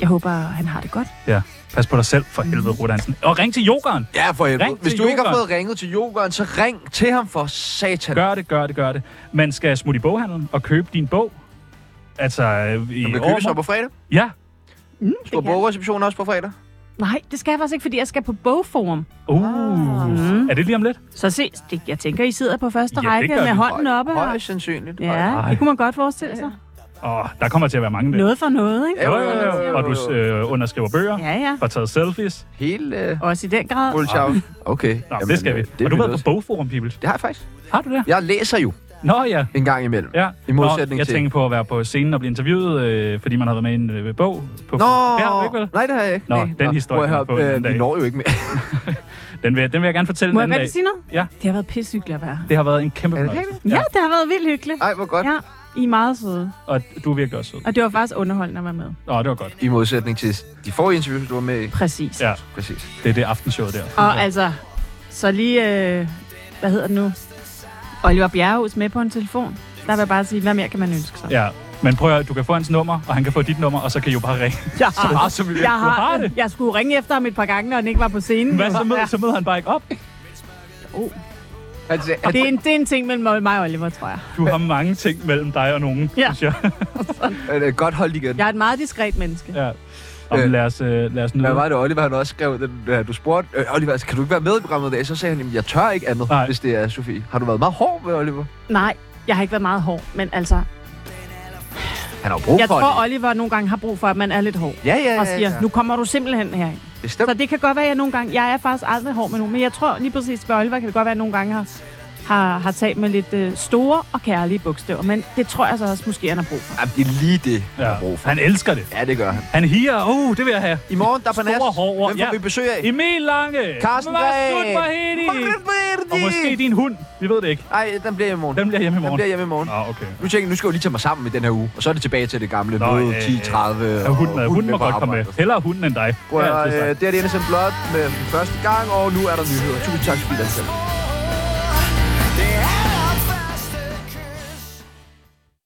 Jeg håber, han har det godt. Ja, pas på dig selv for helvede, Robert Hansen. Og ring til yogeren. Ja, for helvede. Ring Hvis til du ikke har yogeren. fået ringet til yoghurt, så ring til ham for satan. Gør det, gør det, gør det. Man skal smutte i boghandlen og købe din bog. Altså, øh, i Den kan overmorgen. købes op på fredag. Ja. Mm, Stor bogreception også på fredag. Nej, det skal jeg faktisk ikke, fordi jeg skal på bogforum. Uh, Ah. mm. er det lige om lidt? Så se, det, jeg tænker, I sidder på første Ja, ja, det række gør med vi. hånden oppe. Højst sandsynligt. Ja, det kunne man godt forestille sig. Åh, der kommer til at være mange med. Noget for noget, ikke? Jo, jo, jo, jo. Og du øh, underskriver bøger. Ja, ja. Får taget selfies. Hele... Øh, Også i den grad. Okay. Nå, det skal vi. øh, det har du bliver været på noget. Bogforum, People? Det har jeg faktisk. Har du det? Jeg læser jo Nå ja. en gang imellem. Ja. I modsætning Nå, jeg til... tænker på at være på scenen og blive interviewet, øh, fordi man har været med i en øh, bog. På Nå, Ja, ikke vel? nej, det har jeg ikke. Nå, Nej. den historie prøv kommer at på høre, en anden øh, vi dag. når jo ikke med. Den vil, jeg- den vil jeg gerne fortælle Må en jeg anden godt dag. sige noget? Ja, Det har været pissehyggeligt at være her. det har været en kæmpe fornøjelse. Ja, det har været vildt hyggeligt. Ej, hvor godt. Ja, I er meget søde. Og du er virkelig også sød. Og det var faktisk underholdende at være med. Nå, det var godt. I modsætning til de forrige interviews, du var med i. Præcis. Ja, præcis. Det er det aftenshow der. Og altså, så lige, øh, hvad hedder det nu? Oliver Bjerrehus med på en telefon. Der vil jeg bare sige, hvad mere kan man ønske sig? Ja, men prøv at høre, du kan få hans nummer, og han kan få dit nummer, og så kan I jo bare ringe. Jeg så meget som vi vil. jeg Du har, har det. Jeg skulle ringe efter ham et par gange, når han ikke var på scenen. Hvad så med? møder, så møder han bare ikke op. Altså, Ja. Det, er en, det er en ting mellem mig og Oliver, tror jeg. Du har mange ting mellem dig og nogen, Ja. synes jeg. Er det øh, godt holdt igen? Jeg er et meget diskret menneske. Ja. Jamen, lad os, øh, lad os nyde. Hvad var det, Oliver han også skrev? Den, øh, du spurgte, øh, Oliver, kan du ikke være med i programmet i dag? Så sagde han, "Jamen, jeg tør ikke andet, Nej. hvis det er Sofie. Har du været meget hård ved Oliver? Nej, jeg har ikke været meget hård, men altså, Han har jo brug jeg for tror, det. Oliver nogle gange har brug for, at man er lidt hård. Ja, ja, ja, Og siger, ja. nu kommer du simpelthen herind. Bestemt. Så det kan godt være, at jeg nogle gange... Jeg er faktisk aldrig hård med nogen, men jeg tror lige præcis, med Oliver kan det godt være, at jeg nogle gange har, har, har talt med lidt øh, store og kærlige bogstaver. Men det tror jeg så også, måske han har brug for. Jamen, det er lige det, ja. han har brug for. Han elsker det. Ja, det gør han. Han higer. Uh, det vil jeg have. I morgen, der er Panas. Store hårde. Hvem får vi besøg af? Emil Lange. Carsten Masud Ræ. Vahedi. Vahedi. Og måske din hund. Vi ved det ikke. Nej, den bliver hjemme i morgen. Den bliver hjemme i morgen. Den bliver hjemme i morgen. Nå, okay. Nu tænker jeg, nu skal jeg jo lige tage mig sammen i den her uge. Og så er det tilbage til det gamle Nå, møde øh, 10.30. Ja, hunden, er, og hunden må på godt komme arbejde. med. Hellere hunden end dig. Prøv Det er at, altid høre, øh, sagt. det her det er Innocent Blood med første gang, og nu er der nyheder. Tusind tak, fordi I lyttede.